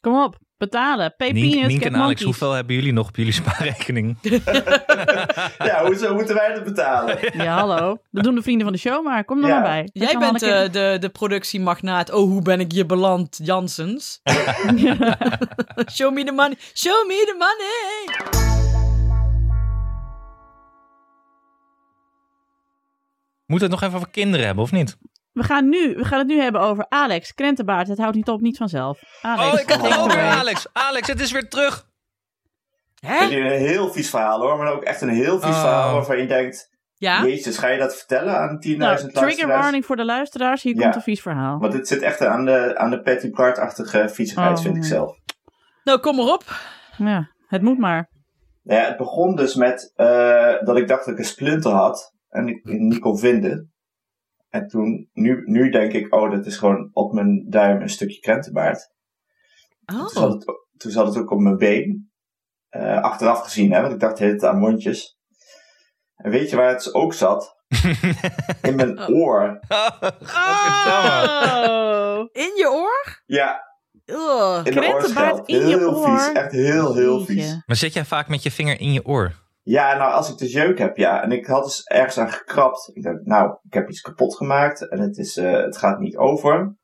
[SPEAKER 3] Kom op, betalen. Pay
[SPEAKER 4] Nienke,
[SPEAKER 3] peanuts,
[SPEAKER 4] Nienke
[SPEAKER 3] get
[SPEAKER 4] en Alex,
[SPEAKER 3] monkeys.
[SPEAKER 4] hoeveel hebben jullie nog op jullie (laughs) spaarrekening?
[SPEAKER 2] (laughs) Ja, hoezo moeten wij dat betalen?
[SPEAKER 3] Ja, hallo. Dat doen de vrienden van de show, maar kom er
[SPEAKER 2] Ja.
[SPEAKER 3] maar bij. Dat
[SPEAKER 1] Jij
[SPEAKER 3] kan wel
[SPEAKER 1] bent
[SPEAKER 3] een keer-
[SPEAKER 1] eh, de, de productiemagnaat. Oh, hoe ben ik hier beland, Jansens?
[SPEAKER 2] (laughs)
[SPEAKER 1] Show me the money. Show me the money.
[SPEAKER 4] Moet het nog even over kinderen hebben, of niet?
[SPEAKER 3] we, gaan nu, we gaan het nu hebben over Alex, krentenbaard. Het houdt niet op, niet vanzelf. Alex,
[SPEAKER 4] Oh, ik had
[SPEAKER 3] take it
[SPEAKER 4] ook weer
[SPEAKER 2] Nou,
[SPEAKER 3] away.
[SPEAKER 4] Alex. Alex, het is weer terug.
[SPEAKER 2] Ik
[SPEAKER 1] Hè?
[SPEAKER 2] vind het een heel vies verhaal hoor, maar ook echt een heel vies
[SPEAKER 4] Oh.
[SPEAKER 2] verhaal waarvan je denkt,
[SPEAKER 1] Ja?
[SPEAKER 2] jezus, ga je dat vertellen aan 10.000
[SPEAKER 3] Nou, trigger
[SPEAKER 2] luisteraars?
[SPEAKER 3] warning voor de luisteraars. Hier
[SPEAKER 2] Ja.
[SPEAKER 3] komt een vies verhaal.
[SPEAKER 2] Want dit zit echt aan de, aan de Patty Bart-achtige viezigheid,
[SPEAKER 3] Oh,
[SPEAKER 2] vind ik
[SPEAKER 3] nee.
[SPEAKER 2] zelf.
[SPEAKER 1] Nou, kom maar op.
[SPEAKER 3] Ja, het moet maar.
[SPEAKER 2] Nou ja, het begon dus met eh, dat ik dacht dat ik een splinter had en ik
[SPEAKER 3] Hm.
[SPEAKER 2] hem niet kon vinden. En toen, nu, nu denk ik, oh, dat is gewoon op mijn duim een stukje krentenbaard. Toen, zat
[SPEAKER 1] Oh.
[SPEAKER 2] het, toen zat het ook op mijn been. Eh, achteraf gezien, hè, want ik dacht de hele tijd aan mondjes. En weet je waar het dus ook
[SPEAKER 3] (laughs)
[SPEAKER 2] zat? In mijn
[SPEAKER 1] Oh.
[SPEAKER 2] oor.
[SPEAKER 4] Godverdamme.
[SPEAKER 1] Ah.
[SPEAKER 3] Oh.
[SPEAKER 1] In je oor?
[SPEAKER 2] Ja,
[SPEAKER 1] Ugh.
[SPEAKER 2] in de
[SPEAKER 3] Krentenbaard
[SPEAKER 2] oorschelp.
[SPEAKER 3] in je
[SPEAKER 2] Heel
[SPEAKER 3] oor?
[SPEAKER 2] vies, echt heel, heel vies.
[SPEAKER 3] Jeetje.
[SPEAKER 4] Maar zit jij vaak met je vinger in je oor?
[SPEAKER 2] Ja, nou, als ik de jeuk heb, ja. En ik had dus ergens aan gekrapt. Ik dacht, nou, ik heb iets kapot gemaakt en het, is, eh, het gaat niet over.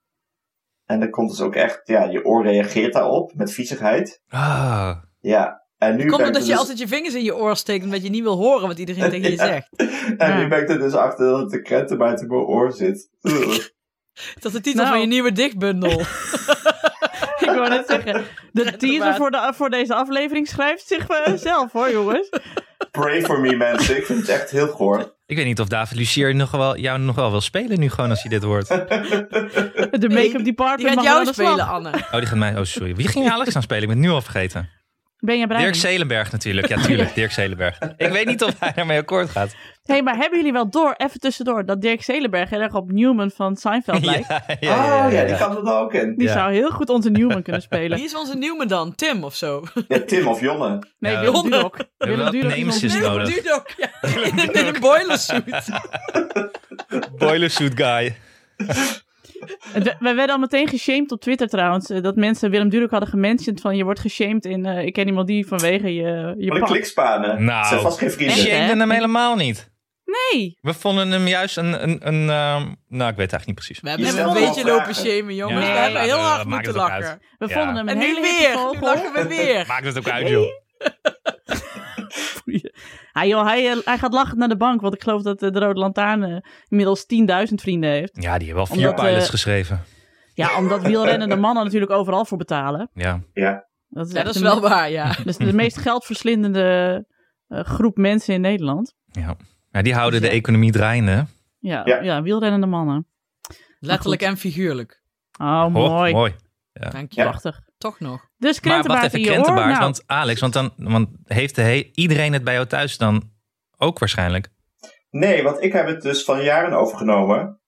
[SPEAKER 2] En dan komt dus ook echt, ja, je oor reageert daarop met viezigheid.
[SPEAKER 4] Ah,
[SPEAKER 2] Ja, En nu
[SPEAKER 1] Komt
[SPEAKER 2] ben ik
[SPEAKER 1] omdat
[SPEAKER 2] er
[SPEAKER 1] je
[SPEAKER 2] dus-
[SPEAKER 1] altijd je vingers in je oor steekt omdat je niet wil horen wat iedereen tegen je
[SPEAKER 2] (laughs) Ja.
[SPEAKER 1] zegt.
[SPEAKER 2] En
[SPEAKER 3] Ja.
[SPEAKER 2] nu ben ik er dus achter dat de krenten buiten mijn oor zit.
[SPEAKER 1] Dat is de titel
[SPEAKER 3] Nou.
[SPEAKER 1] van je nieuwe
[SPEAKER 3] (laughs)
[SPEAKER 1] dichtbundel.
[SPEAKER 3] (laughs) Ik wou net zeggen, de
[SPEAKER 1] Net
[SPEAKER 3] teaser
[SPEAKER 1] waar.
[SPEAKER 3] voor, de, voor deze aflevering schrijft zichzelf zelf hoor jongens.
[SPEAKER 2] Pray for me, mensen. Ik vind het echt heel goor.
[SPEAKER 4] Ik weet niet of David Lucier nog wel, jou nog wel wil spelen nu gewoon als hij dit hoort. Oh,
[SPEAKER 3] De make-up department
[SPEAKER 1] Die gaat
[SPEAKER 3] mag wel aan
[SPEAKER 1] jou
[SPEAKER 3] de slag.
[SPEAKER 1] spelen, Anne.
[SPEAKER 4] die gaat mij... Oh, sorry. Wie ging Alex aan spelen? Ik ben het nu al vergeten.
[SPEAKER 3] Ben jij
[SPEAKER 4] Dirk
[SPEAKER 3] bereid?
[SPEAKER 4] Zelenberg natuurlijk. Ja, (laughs) tuurlijk. Dirk Zelenberg. Ik weet niet of hij daarmee akkoord gaat.
[SPEAKER 3] hey, maar hebben jullie wel door, even tussendoor, dat Dirk Zelenberg heel erg op Newman van
[SPEAKER 4] (laughs)
[SPEAKER 3] Seinfeld lijkt?
[SPEAKER 2] ah, ja, die kan er dan ook in.
[SPEAKER 3] Die
[SPEAKER 4] Ja.
[SPEAKER 3] zou heel goed onze Newman
[SPEAKER 4] (laughs)
[SPEAKER 3] kunnen spelen.
[SPEAKER 1] Wie is onze nieuwe dan? Tim of zo?
[SPEAKER 2] Ja, Tim of Jonne.
[SPEAKER 3] Nee,
[SPEAKER 4] Ja,
[SPEAKER 3] Willem
[SPEAKER 1] Jonne.
[SPEAKER 3] Dudok.
[SPEAKER 4] hebben
[SPEAKER 3] Willem
[SPEAKER 4] wel
[SPEAKER 3] Dudok is
[SPEAKER 4] names
[SPEAKER 3] ons
[SPEAKER 4] is
[SPEAKER 3] Newman.
[SPEAKER 4] nodig.
[SPEAKER 1] Willem Dudok,
[SPEAKER 2] (laughs)
[SPEAKER 1] ja. In een, in een boilersuit.
[SPEAKER 4] Boilersuit guy.
[SPEAKER 3] We, we werden al meteen geshamed op Twitter trouwens. eh, Dat mensen Willem Dudok hadden gementiond van je wordt geshamed in eh, ik ken iemand die vanwege je, je
[SPEAKER 2] Wat een
[SPEAKER 3] pak.
[SPEAKER 2] klikspanen.
[SPEAKER 4] Nou.
[SPEAKER 2] Ze zijn vast geen
[SPEAKER 4] Ik
[SPEAKER 2] vrienden.
[SPEAKER 3] Echt?
[SPEAKER 4] shamed hem helemaal niet.
[SPEAKER 3] Nee,
[SPEAKER 4] We vonden hem juist een... een, een ehm, nou, ik weet het eigenlijk niet precies.
[SPEAKER 1] We hebben
[SPEAKER 2] Je
[SPEAKER 1] hem
[SPEAKER 2] stelt
[SPEAKER 1] een beetje
[SPEAKER 2] wel
[SPEAKER 1] lopen
[SPEAKER 2] vragen.
[SPEAKER 1] shamen, jongens.
[SPEAKER 3] Ja,
[SPEAKER 1] we hebben heel
[SPEAKER 4] eh,
[SPEAKER 1] hard
[SPEAKER 4] maakt
[SPEAKER 1] moeten
[SPEAKER 4] het ook uit.
[SPEAKER 1] lachen.
[SPEAKER 3] we
[SPEAKER 4] Ja.
[SPEAKER 3] vonden hem een
[SPEAKER 1] En nu
[SPEAKER 3] hele hippe
[SPEAKER 1] weer. Nu
[SPEAKER 3] vogel.
[SPEAKER 1] lachen we weer.
[SPEAKER 4] Maakt het ook uit, joh.
[SPEAKER 3] Hij, joh, hij, eh, hij gaat lachend naar de bank, want ik geloof dat eh, de Rode Lantaarn eh, inmiddels 10.000 vrienden heeft.
[SPEAKER 4] Ja, die hebben wel vier
[SPEAKER 3] Omdat,
[SPEAKER 4] pilots
[SPEAKER 3] eh,
[SPEAKER 4] geschreven.
[SPEAKER 3] Ja, omdat wielrennende mannen natuurlijk overal voor betalen.
[SPEAKER 4] Ja.
[SPEAKER 3] Dat is,
[SPEAKER 1] Ja,
[SPEAKER 3] echt
[SPEAKER 1] dat is
[SPEAKER 3] de
[SPEAKER 1] wel
[SPEAKER 3] me-
[SPEAKER 1] waar,
[SPEAKER 3] (laughs)
[SPEAKER 1] ja.
[SPEAKER 3] dat is de meest geldverslindende eh, groep mensen in Nederland.
[SPEAKER 4] ja, die houden de economie draaiende.
[SPEAKER 3] Ja, ja.
[SPEAKER 2] Ja.
[SPEAKER 3] wielrennende mannen.
[SPEAKER 1] Letterlijk en figuurlijk.
[SPEAKER 3] Oh,
[SPEAKER 4] Ho,
[SPEAKER 3] mooi.
[SPEAKER 4] mooi.
[SPEAKER 1] Dank je.
[SPEAKER 3] Prachtig.
[SPEAKER 1] Toch nog.
[SPEAKER 3] Dus
[SPEAKER 4] Maar wacht
[SPEAKER 3] krentenbaard
[SPEAKER 4] even,
[SPEAKER 3] in je oor.
[SPEAKER 4] krentenbaard.
[SPEAKER 3] Nou,
[SPEAKER 4] Want Alex, want, dan, want heeft de he- iedereen het bij jou thuis dan ook waarschijnlijk?
[SPEAKER 2] Nee, want ik heb het dus van jaren overgenomen.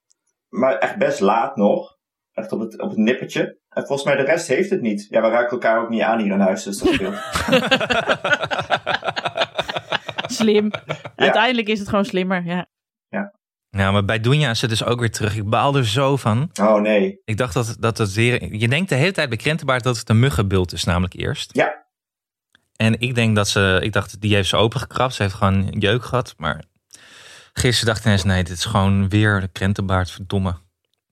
[SPEAKER 2] Maar echt best laat nog. Echt op het, op het nippertje. En volgens mij de rest heeft het niet. Ja, we raken elkaar ook niet aan hier in huis. Dus dat scheelt.
[SPEAKER 4] (laughs)
[SPEAKER 3] Slim. Uiteindelijk is het gewoon slimmer. Ja.
[SPEAKER 4] Nou, maar bij Doenja is het dus ook weer terug. Ik baal er zo van.
[SPEAKER 2] Oh nee.
[SPEAKER 4] Ik dacht dat dat, dat weer... Je denkt de hele tijd bij krentenbaard dat het een muggenbult is namelijk eerst.
[SPEAKER 2] Ja.
[SPEAKER 4] En ik denk dat ze... Ik dacht, die heeft ze opengekrapt. Ze heeft gewoon jeuk gehad. Maar gisteren dacht ik ineens, nee, dit is gewoon weer de krentenbaard. Verdomme. Het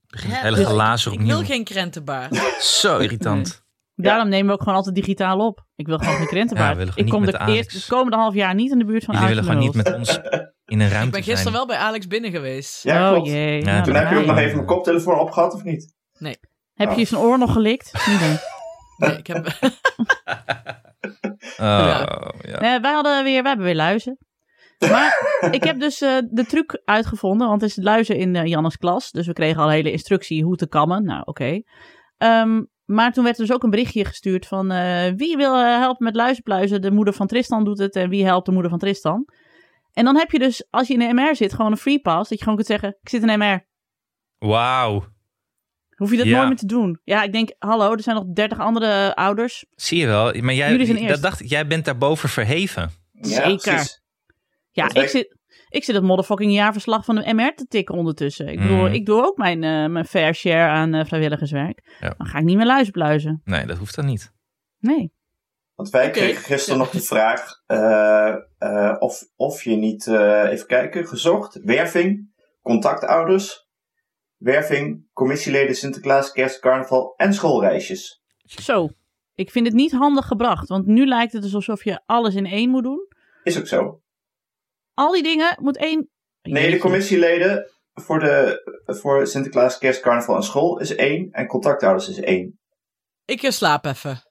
[SPEAKER 4] Begint het
[SPEAKER 1] Ja,
[SPEAKER 4] hele
[SPEAKER 1] dus-
[SPEAKER 4] glazen
[SPEAKER 1] Ik wil
[SPEAKER 4] opnieuw.
[SPEAKER 1] geen krentenbaard.
[SPEAKER 4] Zo irritant.
[SPEAKER 3] Daarom nemen we ook gewoon altijd digitaal op. Ik wil gewoon geen
[SPEAKER 4] Ja,
[SPEAKER 3] krentenbaard.
[SPEAKER 4] we willen gewoon
[SPEAKER 3] ik kom
[SPEAKER 4] niet
[SPEAKER 3] de
[SPEAKER 4] met Alex.
[SPEAKER 3] eerst, het komende half jaar niet in de buurt van
[SPEAKER 4] Jullie willen
[SPEAKER 3] Alex
[SPEAKER 4] gewoon niet
[SPEAKER 3] Nulst.
[SPEAKER 4] met ons in een ruimte
[SPEAKER 1] Ik ben gisteren wel bij Alex binnen geweest.
[SPEAKER 2] Ja,
[SPEAKER 3] oh
[SPEAKER 2] klopt.
[SPEAKER 3] jee.
[SPEAKER 4] Ja,
[SPEAKER 3] nou,
[SPEAKER 2] Toen
[SPEAKER 4] dat
[SPEAKER 2] heb je ook
[SPEAKER 4] Nee.
[SPEAKER 2] nog even mijn koptelefoon opgehad, of niet?
[SPEAKER 3] Heb je zijn oor nog gelikt? Nee.
[SPEAKER 1] Nee, ik heb... (laughs)
[SPEAKER 4] Oh, ja.
[SPEAKER 3] Nee, Eh, wij, hadden weer, wij hebben weer luizen. Maar ik heb dus eh, de truc uitgevonden, want het is luizen in eh, Jannes klas. Dus we kregen al hele instructie hoe te kammen. Nou, oké. Ehm, maar toen werd er dus ook een berichtje gestuurd van eh, wie wil eh, helpen met luizenpluizen? De moeder van Tristan doet het en wie helpt de moeder van Tristan? En dan heb je dus, als je in een MR zit, gewoon een free pass. Dat je gewoon kunt zeggen, ik zit in een MR.
[SPEAKER 4] Wauw.
[SPEAKER 3] Hoef je dat
[SPEAKER 4] Ja.
[SPEAKER 3] nooit meer te doen. Ja, ik denk, hallo, er zijn nog dertig andere eh, ouders.
[SPEAKER 4] Zie je wel. Maar
[SPEAKER 3] Jullie zijn
[SPEAKER 4] jij, dat
[SPEAKER 3] eerst.
[SPEAKER 4] dacht, ik, jij bent daarboven verheven.
[SPEAKER 2] Ja,
[SPEAKER 3] Zeker.
[SPEAKER 2] precies.
[SPEAKER 3] Ja,
[SPEAKER 2] Dat weet
[SPEAKER 3] ik
[SPEAKER 2] ik.
[SPEAKER 3] zit, ik zit het motherfucking jaarverslag van de MR te tikken ondertussen. Ik bedoel,
[SPEAKER 4] Mm.
[SPEAKER 3] ik doe ook mijn, eh, mijn fair share aan eh, vrijwilligerswerk.
[SPEAKER 4] Ja.
[SPEAKER 3] Dan ga ik niet meer luizenpluizen.
[SPEAKER 4] Nee, dat hoeft dan niet. (laughs)
[SPEAKER 3] Nee.
[SPEAKER 2] Want wij
[SPEAKER 1] Oké.
[SPEAKER 2] kregen gisteren
[SPEAKER 1] Ja.
[SPEAKER 2] nog de vraag eh, eh, of, of je niet, eh, even kijken, gezocht, werving, contactouders, werving, commissieleden Sinterklaas, kerst, carnaval en schoolreisjes.
[SPEAKER 3] Zo. Ik vind het niet handig gebracht, want nu lijkt het dus alsof je alles in één moet doen.
[SPEAKER 2] Is ook zo.
[SPEAKER 3] Al die dingen moet één.
[SPEAKER 2] Nee, de
[SPEAKER 3] Jeetje.
[SPEAKER 2] commissieleden voor, de, voor Sinterklaas, kerst, carnaval en school is één en contactouders is één.
[SPEAKER 1] Ik eh, slaap
[SPEAKER 3] (laughs)
[SPEAKER 1] even.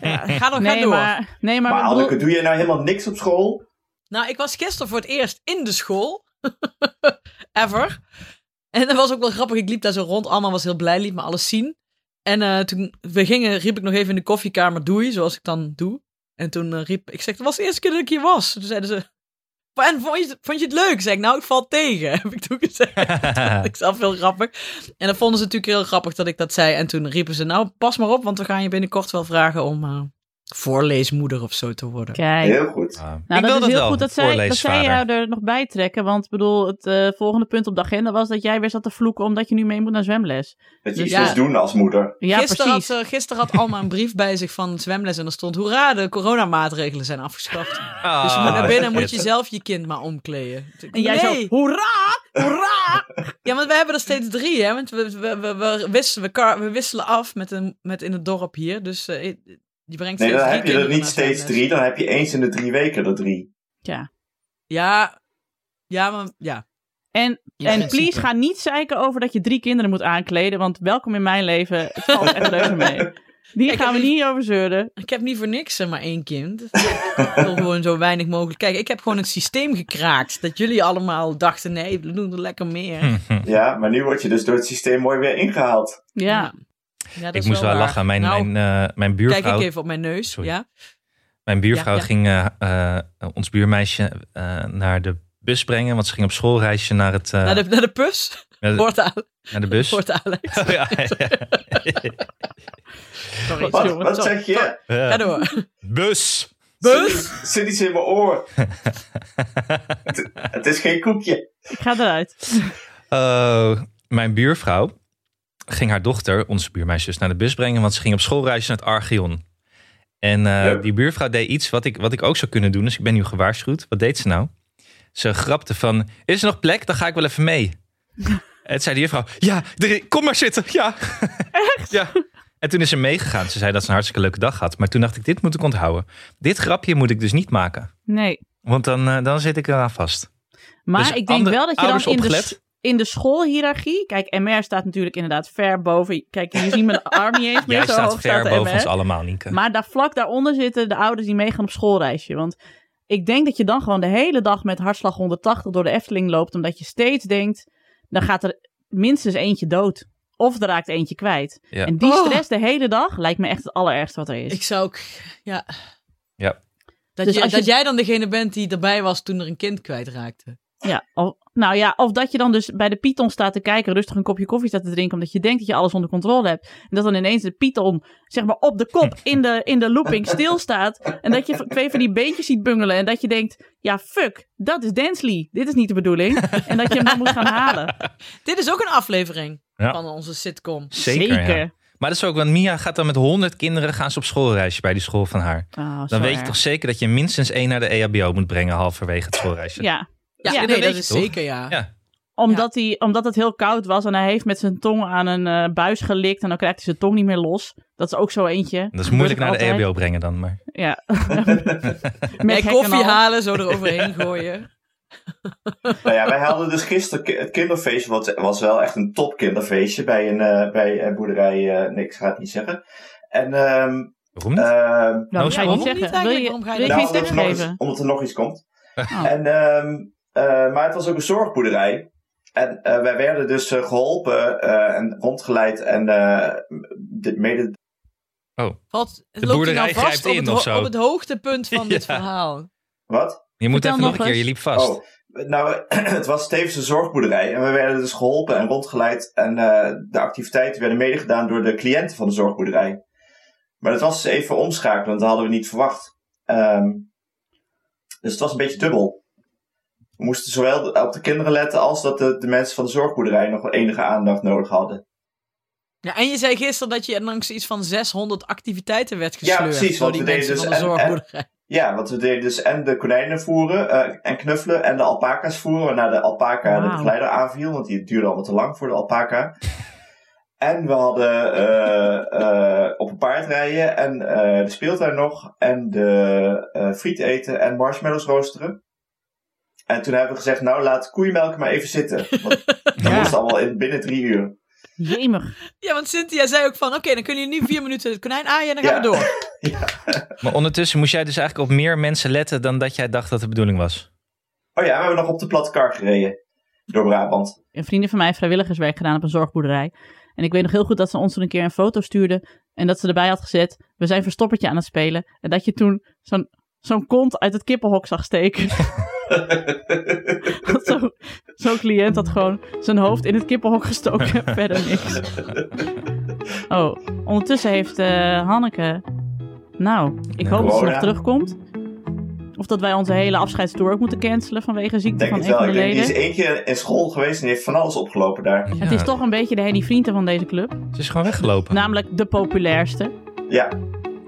[SPEAKER 1] Ja, ga dan ga
[SPEAKER 3] Nee,
[SPEAKER 1] door.
[SPEAKER 3] maar, nee, maar,
[SPEAKER 2] Maar,
[SPEAKER 3] ik
[SPEAKER 2] Anneke,
[SPEAKER 3] bedoel,
[SPEAKER 2] doe je nou helemaal niks op school?
[SPEAKER 1] Nou, ik was gisteren voor het eerst in de school. (laughs) Ever. En dat was ook wel grappig. Ik liep daar zo rond. Alma was heel blij, liet me alles zien. En eh, toen we gingen, riep ik nog even in de koffiekamer doei, zoals ik dan doe. En toen eh, riep ik, zeg, dat was de eerste keer dat ik hier was. Toen zeiden ze, en vond je, vond je het leuk? Zeg ik, nou, ik val tegen, (laughs) heb ik toen gezegd. ik zelf heel grappig. En dan vonden ze natuurlijk heel grappig dat ik dat zei. En toen riepen ze, nou, pas maar op, want we gaan je binnenkort wel vragen om eh, voorleesmoeder of zo te worden.
[SPEAKER 3] kijk.
[SPEAKER 2] Heel goed.
[SPEAKER 4] Ah,
[SPEAKER 3] Nou,
[SPEAKER 4] ik wil
[SPEAKER 3] dat is heel
[SPEAKER 4] wel,
[SPEAKER 3] goed dat zij, dat zij
[SPEAKER 4] voorleesvader.
[SPEAKER 1] eh,
[SPEAKER 3] jou er nog bij trekken. Want ik bedoel, het eh, volgende punt op de agenda was dat jij weer zat te vloeken omdat je nu mee moet naar zwemles.
[SPEAKER 2] Dat je
[SPEAKER 3] Dus
[SPEAKER 2] iets
[SPEAKER 1] ja.
[SPEAKER 2] moest doen als moeder.
[SPEAKER 3] Ja,
[SPEAKER 1] gisteren,
[SPEAKER 3] precies.
[SPEAKER 1] had, ze- gisteren had Alma een brief bij zich van het zwemles en er stond: Hoera, de coronamaatregelen zijn afgeschaft.
[SPEAKER 4] Ah,
[SPEAKER 1] dus je moet naar binnen moet je
[SPEAKER 4] shit.
[SPEAKER 1] zelf je kind maar omkleden.
[SPEAKER 3] En jij
[SPEAKER 1] nee.
[SPEAKER 3] zo, hoera, hoera.
[SPEAKER 1] Ja, want we hebben er steeds drie, hè? Want we, we, we, we, wisselen, we, kar- we wisselen af met, een, met in het dorp hier. Dus eh, Je brengt
[SPEAKER 2] Nee,
[SPEAKER 1] steeds drie
[SPEAKER 2] dan heb je er
[SPEAKER 1] kinderen
[SPEAKER 2] niet
[SPEAKER 1] naar
[SPEAKER 2] steeds
[SPEAKER 1] Sandnes.
[SPEAKER 2] drie. Dan heb je eens in de drie weken er drie.
[SPEAKER 3] Tja.
[SPEAKER 1] Ja, ja, maar ja.
[SPEAKER 3] En,
[SPEAKER 1] Ja,
[SPEAKER 3] en
[SPEAKER 1] in
[SPEAKER 3] please ga niet zeiken over dat je drie kinderen moet aankleden. Want welkom in mijn leven. Het valt echt leuker
[SPEAKER 4] (laughs)
[SPEAKER 3] mee. Hier
[SPEAKER 1] Ik
[SPEAKER 3] gaan we
[SPEAKER 1] heb-
[SPEAKER 3] niet over zeuren.
[SPEAKER 1] Ik heb niet voor niks eh, maar één
[SPEAKER 2] (laughs)
[SPEAKER 1] kind. ik wil gewoon zo weinig mogelijk. Kijk, ik heb gewoon het systeem gekraakt. Dat jullie allemaal dachten, nee, we doen er lekker meer.
[SPEAKER 2] Hm.
[SPEAKER 3] Hm.
[SPEAKER 2] Ja, maar nu word je dus door het systeem mooi weer
[SPEAKER 3] (laughs)
[SPEAKER 2] ingehaald.
[SPEAKER 3] Ja.
[SPEAKER 1] Ja, dat
[SPEAKER 4] ik
[SPEAKER 1] is
[SPEAKER 4] moest wel
[SPEAKER 1] waar.
[SPEAKER 4] lachen. Mijn,
[SPEAKER 1] Nou,
[SPEAKER 4] mijn, eh, mijn buurvrouw,
[SPEAKER 1] kijk ik even op mijn neus.
[SPEAKER 4] Sorry.
[SPEAKER 1] Ja?
[SPEAKER 4] mijn buurvrouw
[SPEAKER 1] Ja, ja.
[SPEAKER 4] ging eh, eh, ons buurmeisje eh, naar de bus brengen. Want ze ging op schoolreisje naar, het, eh,
[SPEAKER 1] Naar, de, naar de pus.
[SPEAKER 4] naar, (laughs) de,
[SPEAKER 1] Hoort, Ale-
[SPEAKER 4] naar de
[SPEAKER 1] (laughs)
[SPEAKER 4] bus.
[SPEAKER 1] hoort Alex.
[SPEAKER 4] Oh, (laughs) ja, ja.
[SPEAKER 1] (laughs) Sorry,
[SPEAKER 2] Wat,
[SPEAKER 1] jongen,
[SPEAKER 2] wat
[SPEAKER 1] sorry.
[SPEAKER 2] zeg je?
[SPEAKER 1] Ga door.
[SPEAKER 4] Bus!
[SPEAKER 1] Bus?
[SPEAKER 2] Zit iets in mijn
[SPEAKER 3] (laughs)
[SPEAKER 2] oor. het, het is geen koekje.
[SPEAKER 3] Ik ga eruit.
[SPEAKER 4] Oh, mijn buurvrouw ging haar dochter, onze buurmeisje, dus naar de bus brengen. Want ze ging op schoolreis naar het Archeon. En eh,
[SPEAKER 2] Yep.
[SPEAKER 4] die buurvrouw deed iets wat ik, wat ik ook zou kunnen doen. Dus ik ben nu gewaarschuwd. Wat deed ze nou? Ze grapte van, is er nog plek? Dan ga ik wel even
[SPEAKER 3] (laughs)
[SPEAKER 4] mee. en zei de juffrouw, ja, er- kom maar zitten. Ja. Echt? ja. En toen is ze meegegaan. Ze zei dat ze een hartstikke leuke dag had. Maar toen dacht ik, dit moet ik onthouden. Dit grapje moet ik dus niet maken.
[SPEAKER 3] Nee.
[SPEAKER 4] Want dan, eh, dan zit ik eraan vast.
[SPEAKER 3] Maar
[SPEAKER 4] Dus
[SPEAKER 3] ik denk
[SPEAKER 4] andere
[SPEAKER 3] wel dat je dan
[SPEAKER 4] ouders
[SPEAKER 3] in de,
[SPEAKER 4] opgelet?
[SPEAKER 3] s- in de schoolhiërarchie... Kijk, MR staat natuurlijk inderdaad ver boven. Kijk, je ziet mijn arm
[SPEAKER 4] (laughs)
[SPEAKER 3] niet eens meer
[SPEAKER 4] Jij
[SPEAKER 3] zo
[SPEAKER 4] staat
[SPEAKER 3] hoog
[SPEAKER 4] ver
[SPEAKER 3] de
[SPEAKER 4] boven
[SPEAKER 3] MR.
[SPEAKER 4] ons allemaal, Nienke.
[SPEAKER 3] Maar daar vlak daaronder zitten de ouders die meegaan op schoolreisje. Want ik denk dat je dan gewoon de hele dag met hartslag 180 door de Efteling loopt. Omdat je steeds denkt, dan gaat er minstens eentje dood. Of er raakt eentje kwijt.
[SPEAKER 4] Ja.
[SPEAKER 3] En die
[SPEAKER 1] Oh.
[SPEAKER 3] stress de hele dag lijkt me echt het allerergste wat er is.
[SPEAKER 1] Ik zou ook... Ja.
[SPEAKER 4] Ja.
[SPEAKER 1] Dat,
[SPEAKER 3] Dus
[SPEAKER 1] je-
[SPEAKER 3] als je-
[SPEAKER 1] dat jij dan degene bent die erbij was toen er een kind kwijtraakte.
[SPEAKER 3] Ja, of, nou ja, of dat je dan dus bij de Python staat te kijken, rustig een kopje koffie staat te drinken, omdat je denkt dat je alles onder controle hebt. En dat dan ineens de Python, zeg maar, op de kop
[SPEAKER 4] (laughs)
[SPEAKER 3] in de, in de looping stilstaat. En dat je v- twee van die beentjes ziet bungelen. En dat je denkt, ja, fuck, dat is Densley. Dit is niet de bedoeling. En dat je hem dan moet gaan halen.
[SPEAKER 1] Dit is ook een aflevering
[SPEAKER 4] Ja.
[SPEAKER 1] van onze sitcom.
[SPEAKER 4] (laughs) Zeker. ja. Maar dat is ook, want Mia gaat dan met honderd kinderen gaan ze op schoolreisje bij die school van haar.
[SPEAKER 3] Oh, zo
[SPEAKER 4] Dan weet je
[SPEAKER 3] erg.
[SPEAKER 4] toch zeker dat je minstens één naar de E EHBO moet brengen halverwege het schoolreisje.
[SPEAKER 3] Ja.
[SPEAKER 1] Ja,
[SPEAKER 3] Ja,
[SPEAKER 1] nee,
[SPEAKER 4] dat
[SPEAKER 1] dat,
[SPEAKER 4] weet je
[SPEAKER 1] is
[SPEAKER 4] toch?
[SPEAKER 1] zeker ja.
[SPEAKER 4] Ja.
[SPEAKER 3] Omdat, hij, omdat het heel koud was en hij heeft met zijn tong aan een eh, buis gelikt. En dan krijgt hij zijn tong niet meer los. Dat is ook zo eentje.
[SPEAKER 4] Dat is
[SPEAKER 3] Gebeurt
[SPEAKER 4] moeilijk
[SPEAKER 3] ook
[SPEAKER 4] naar de E
[SPEAKER 3] altijd.
[SPEAKER 4] EHBO brengen dan. Maar (laughs)
[SPEAKER 3] Ja. (laughs)
[SPEAKER 1] Nee,
[SPEAKER 3] hek en
[SPEAKER 1] koffie
[SPEAKER 3] al.
[SPEAKER 1] halen, zo (laughs) eroverheen gooien.
[SPEAKER 2] Nou ja, wij hadden dus gisteren ki- het kinderfeestje. Wat was wel echt een top kinderfeestje bij een eh, bij, eh, boerderij. eh nee, ik ga het niet zeggen. En ehm
[SPEAKER 4] waarom
[SPEAKER 3] Eh,
[SPEAKER 2] ehm
[SPEAKER 4] niet?
[SPEAKER 3] Waarom ga Nou, je
[SPEAKER 1] waarom niet
[SPEAKER 3] niet zeggen? Wil
[SPEAKER 1] eigenlijk?
[SPEAKER 3] je,
[SPEAKER 1] Waarom ga je
[SPEAKER 3] wil je
[SPEAKER 1] dat
[SPEAKER 3] geen
[SPEAKER 1] niet
[SPEAKER 3] tips
[SPEAKER 2] nou, omdat, er nog iets,
[SPEAKER 3] geven?
[SPEAKER 2] omdat er nog iets komt.
[SPEAKER 3] Oh.
[SPEAKER 2] En, ehm, eh, maar het was ook een zorgboerderij. En eh, wij werden dus eh, geholpen eh, en rondgeleid en eh, de, mede
[SPEAKER 1] Wat, de
[SPEAKER 4] boerderij
[SPEAKER 1] nou vast
[SPEAKER 4] grijpt
[SPEAKER 1] op
[SPEAKER 4] in
[SPEAKER 1] het,
[SPEAKER 4] of
[SPEAKER 1] ho-
[SPEAKER 4] zo.
[SPEAKER 1] Op het hoogtepunt
[SPEAKER 4] (laughs)
[SPEAKER 1] van dit
[SPEAKER 4] Ja.
[SPEAKER 1] verhaal.
[SPEAKER 2] Wat?
[SPEAKER 4] je moet
[SPEAKER 3] vertel
[SPEAKER 4] even nog een
[SPEAKER 3] nog
[SPEAKER 4] keer,
[SPEAKER 3] eens.
[SPEAKER 4] je liep vast.
[SPEAKER 2] Oh, nou, (clears throat) het was tevens een zorgboerderij. En we werden dus geholpen en rondgeleid. En eh, de activiteiten werden medegedaan door de cliënten van de zorgboerderij. Maar dat was dus even omschakelen, want dat hadden we niet verwacht. Ehm, dus het was een beetje dubbel. We moesten zowel op de kinderen letten als dat de, de mensen van de zorgboerderij nog wel enige aandacht nodig hadden.
[SPEAKER 1] Ja, en je zei gisteren dat je langs iets van 600 activiteiten werd
[SPEAKER 2] Ja,
[SPEAKER 1] gesleurd.
[SPEAKER 2] precies,
[SPEAKER 1] Door
[SPEAKER 2] want
[SPEAKER 1] die
[SPEAKER 2] we deden
[SPEAKER 1] mensen van de
[SPEAKER 2] dus en- en-
[SPEAKER 1] zorgboerderij.
[SPEAKER 2] Ja, want we deden dus en de konijnen voeren eh, en knuffelen en de alpaca's voeren. Waarna de alpaca de
[SPEAKER 3] Wauw.
[SPEAKER 2] begeleider aanviel, want die duurde allemaal te lang voor de alpaca. en we hadden eh, eh, op een paard rijden en eh, de speeltuin nog. En de eh, friet eten en marshmallows roosteren. En toen hebben we gezegd, nou laat de koeienmelk maar even zitten.
[SPEAKER 3] (laughs)
[SPEAKER 2] Want dat
[SPEAKER 3] Ja.
[SPEAKER 2] moest allemaal in, binnen drie uur.
[SPEAKER 3] Jemig.
[SPEAKER 1] Ja, want Cynthia zei ook van, oké, dan kunnen jullie nu vier minuten het konijn aaien en dan gaan
[SPEAKER 2] Ja.
[SPEAKER 1] we
[SPEAKER 3] (laughs)
[SPEAKER 1] door.
[SPEAKER 4] Maar ondertussen moest jij dus eigenlijk op meer mensen letten dan dat jij dacht dat de bedoeling was.
[SPEAKER 2] Oh ja, we hebben nog op de platte kar gereden. Door Brabant.
[SPEAKER 3] (laughs) Een vriendin van mij heeft vrijwilligerswerk gedaan op een zorgboerderij. En ik weet nog heel goed dat ze ons toen een keer een foto stuurde. En dat ze erbij had gezet, we zijn verstoppertje aan het spelen. En dat je toen zo'n zo'n kont uit het kippenhok zag steken. Dat (laughs) zo- Zo'n cliënt had gewoon zijn hoofd in het kippenhok gestoken. en Verder niks. Oh, ondertussen heeft eh, Hanneke... Nou, ik hoop dat ze nog
[SPEAKER 2] Corona.
[SPEAKER 3] terugkomt. Of dat wij onze hele afscheidstour ook moeten cancelen vanwege ziekte
[SPEAKER 2] denk
[SPEAKER 3] van
[SPEAKER 2] het
[SPEAKER 3] een
[SPEAKER 2] wel.
[SPEAKER 3] van de
[SPEAKER 2] Ik denk, die is
[SPEAKER 3] leden.
[SPEAKER 2] één keer in school geweest en die heeft van alles opgelopen daar.
[SPEAKER 3] Het is toch een beetje de Henny Vrienden van deze club.
[SPEAKER 4] Ze is gewoon weggelopen.
[SPEAKER 3] Namelijk de populairste
[SPEAKER 2] Ja,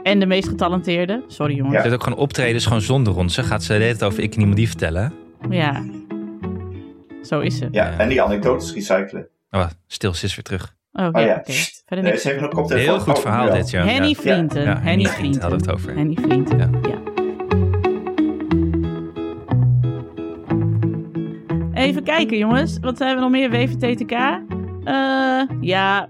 [SPEAKER 3] en de meest getalenteerde. Sorry jongens.
[SPEAKER 4] Ze heeft ook gewoon optredens gewoon zonder ons. Ze gaat ze de hele tijd over ik en niemand die vertellen.
[SPEAKER 3] Ja. Zo is ze.
[SPEAKER 2] ja,
[SPEAKER 4] Ja.
[SPEAKER 2] en die anekdotes recyclen.
[SPEAKER 4] Oh, stil, ze is weer terug.
[SPEAKER 3] Oh,
[SPEAKER 2] Oh
[SPEAKER 3] ja,
[SPEAKER 2] ja.
[SPEAKER 3] oké. Verder
[SPEAKER 2] Nee,
[SPEAKER 3] niks.
[SPEAKER 2] ze heeft een koptelefoon.
[SPEAKER 4] Heel goed
[SPEAKER 2] Oh,
[SPEAKER 4] verhaal
[SPEAKER 2] ja.
[SPEAKER 4] dit, ja.
[SPEAKER 3] Henny
[SPEAKER 4] Ja.
[SPEAKER 3] Vrienden.
[SPEAKER 4] Ja,
[SPEAKER 3] Henny
[SPEAKER 4] Vrienden
[SPEAKER 3] Vrienden.
[SPEAKER 4] hadden we het over.
[SPEAKER 3] Henny Vrienden.
[SPEAKER 4] Ja.
[SPEAKER 3] Ja. Even kijken, jongens. Wat hebben we nog meer? WVTTK? Eh, ja.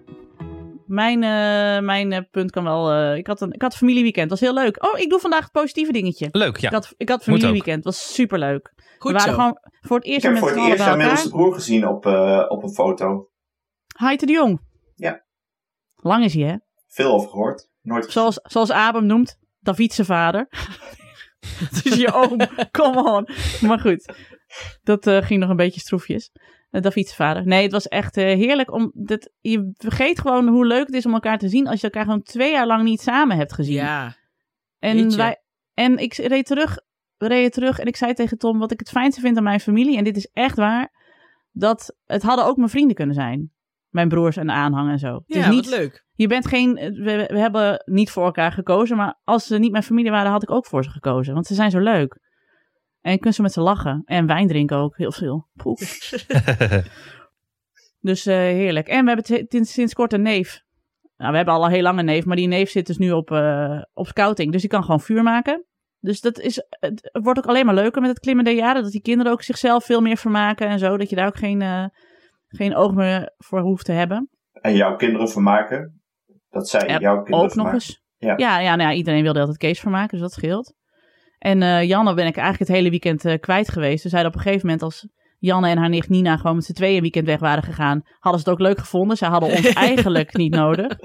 [SPEAKER 3] Mijn, eh, mijn eh, punt kan wel. eh, ik, had een, ik had een familieweekend. Dat was heel leuk. Oh, ik doe vandaag het positieve dingetje.
[SPEAKER 4] Leuk, ja.
[SPEAKER 3] Ik had, ik had familieweekend. Dat was superleuk. we
[SPEAKER 1] Goed
[SPEAKER 3] waren
[SPEAKER 1] zo.
[SPEAKER 3] gewoon voor het
[SPEAKER 2] Ik
[SPEAKER 3] eerst
[SPEAKER 2] heb
[SPEAKER 3] met
[SPEAKER 2] voor
[SPEAKER 3] z'n
[SPEAKER 2] het
[SPEAKER 3] allen
[SPEAKER 2] eerst
[SPEAKER 3] bij
[SPEAKER 2] haar middelste
[SPEAKER 3] elkaar.
[SPEAKER 2] broer gezien op, eh, op een foto.
[SPEAKER 3] Haite de Jong.
[SPEAKER 2] Ja.
[SPEAKER 3] Lang is hij, hè?
[SPEAKER 2] Veel over gehoord. Nooit gezien.
[SPEAKER 3] Zoals, zoals Abem noemt, David zijn vader. Het is je
[SPEAKER 1] (laughs)
[SPEAKER 3] oom, come on. Maar goed, dat eh, ging nog een beetje stroefjes. Eh, David zijn vader. Nee, het was echt eh, heerlijk. Om dit, je vergeet gewoon hoe leuk het is om elkaar te zien als je elkaar gewoon twee jaar lang niet samen hebt gezien.
[SPEAKER 1] Ja.
[SPEAKER 3] en,
[SPEAKER 1] jeetje.
[SPEAKER 3] wij, en ik reed terug, we reden terug en ik zei tegen Tom wat ik het fijnste vind aan mijn familie. En dit is echt waar. Dat het hadden ook mijn vrienden kunnen zijn. Mijn broers en aanhang en zo. Het
[SPEAKER 1] Ja,
[SPEAKER 3] is niet
[SPEAKER 1] wat leuk.
[SPEAKER 3] je bent geen. We, we hebben niet voor elkaar gekozen. Maar als ze niet mijn familie waren, had ik ook voor ze gekozen. Want ze zijn zo leuk. En je kunt ze met ze lachen. En wijn drinken ook heel veel. Poeh. Dus eh, heerlijk. En we hebben t- sinds- sinds kort een neef. Nou, we hebben al een heel lange neef. Maar die neef zit dus nu op, eh, op scouting. Dus die kan gewoon vuur maken. Dus dat is, het wordt ook alleen maar leuker met het klimmen der jaren. Dat die kinderen ook zichzelf veel meer vermaken en zo. Dat je daar ook geen, eh, geen oog meer voor hoeft te hebben.
[SPEAKER 2] En jouw kinderen vermaken. Dat zij
[SPEAKER 3] Ja,
[SPEAKER 2] jouw kinderen
[SPEAKER 3] ook nog
[SPEAKER 2] vermaken.
[SPEAKER 3] eens. Ja,
[SPEAKER 2] Ja.
[SPEAKER 3] ja, nou ja, iedereen wilde altijd Kees vermaken, dus dat scheelt. En eh Janne ben ik eigenlijk het hele weekend eh, kwijt geweest. Ze zeiden op een gegeven moment als Janne en haar nicht Nina gewoon met z'n tweeën een weekend weg waren gegaan, hadden ze het ook leuk gevonden. Zij hadden ons eigenlijk niet nodig.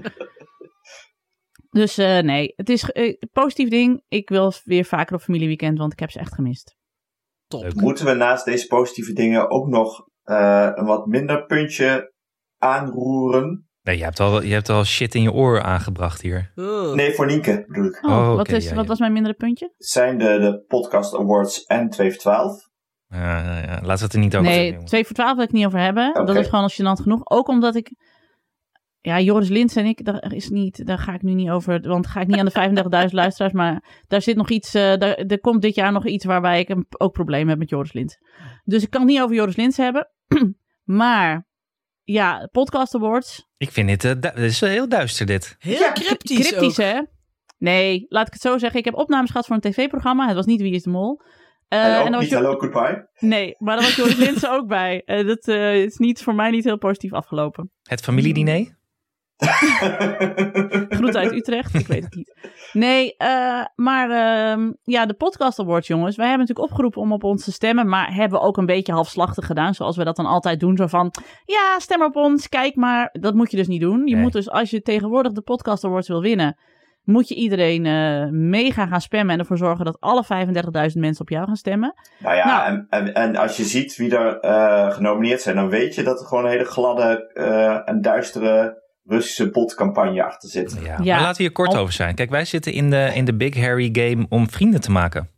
[SPEAKER 3] Dus eh, nee, het is eh, een positief ding. Ik wil weer vaker op familieweekend, want ik heb ze echt gemist.
[SPEAKER 1] Top.
[SPEAKER 4] Leuk.
[SPEAKER 2] Moeten we naast deze positieve dingen ook nog eh, een wat minder puntje aanroeren?
[SPEAKER 4] Nee, je hebt, al, je hebt al shit in je oor aangebracht hier.
[SPEAKER 1] Ugh.
[SPEAKER 2] Nee, voor Nienke bedoel ik.
[SPEAKER 3] Oh,
[SPEAKER 4] Oh, oké,
[SPEAKER 3] wat, is,
[SPEAKER 4] ja,
[SPEAKER 3] wat
[SPEAKER 4] ja.
[SPEAKER 3] was mijn mindere puntje?
[SPEAKER 2] Zijn de, de podcast awards en 212?
[SPEAKER 4] Ja, ja, Eh, ja. Laten we het er niet over
[SPEAKER 3] nee,
[SPEAKER 4] hebben, jongens.
[SPEAKER 3] 2 voor 12 wil ik het niet over hebben. Dat
[SPEAKER 2] Oké.
[SPEAKER 3] is gewoon als gênant genoeg. Ook omdat ik... Ja, Joris Lins en ik, daar, is niet, daar ga ik nu niet over. Want ga ik niet aan de 35.000
[SPEAKER 2] (laughs)
[SPEAKER 3] luisteraars. Maar daar zit nog iets... eh, daar, er komt dit jaar nog iets waarbij ik een, ook problemen heb met Joris Lins. Dus ik kan het niet over Joris Lins hebben. (clears throat) maar ja, Podcast Awards.
[SPEAKER 4] Ik vind dit, eh, du- dit is wel heel duister dit.
[SPEAKER 1] Heel
[SPEAKER 2] Ja,
[SPEAKER 1] cryptisch,
[SPEAKER 3] Cryptisch,
[SPEAKER 1] ook.
[SPEAKER 3] hè? Nee, laat ik het zo zeggen. Ik heb opnames gehad voor een tv-programma. Het was niet Wie is de Mol. Eh,
[SPEAKER 2] en ook
[SPEAKER 3] dan was
[SPEAKER 2] niet
[SPEAKER 3] Jo-
[SPEAKER 2] Hello Goodbye? (laughs)
[SPEAKER 3] Nee, maar daar was
[SPEAKER 1] (laughs)
[SPEAKER 3] Joris Linsen ook bij. Eh, dat eh, is niet, voor mij niet heel positief afgelopen.
[SPEAKER 4] Het familiediner?
[SPEAKER 3] Groet uit Utrecht, ik weet het niet. Nee, eh, maar ehm, ja, de podcast awards, jongens. Wij hebben natuurlijk opgeroepen om op ons te stemmen. Maar hebben we ook een beetje halfslachtig gedaan. Zoals we dat dan altijd doen. Zo van, ja, stem op ons, kijk maar. Dat moet je dus niet doen. Je
[SPEAKER 4] Nee.
[SPEAKER 3] moet dus, als je tegenwoordig de podcast awards wil winnen... moet je iedereen eh, mega gaan spammen. En ervoor zorgen dat alle 35.000 mensen op jou gaan stemmen.
[SPEAKER 2] nou ja,
[SPEAKER 3] Nou.
[SPEAKER 2] En, en, en als je ziet wie er eh, genomineerd zijn, dan weet je dat er gewoon een hele gladde eh, en duistere Russische botcampagne achter zit.
[SPEAKER 4] Ja.
[SPEAKER 3] Ja.
[SPEAKER 4] Maar laten we hier kort
[SPEAKER 3] Al-
[SPEAKER 4] over zijn. Kijk, wij zitten in de, in de Big Harry game om vrienden te maken.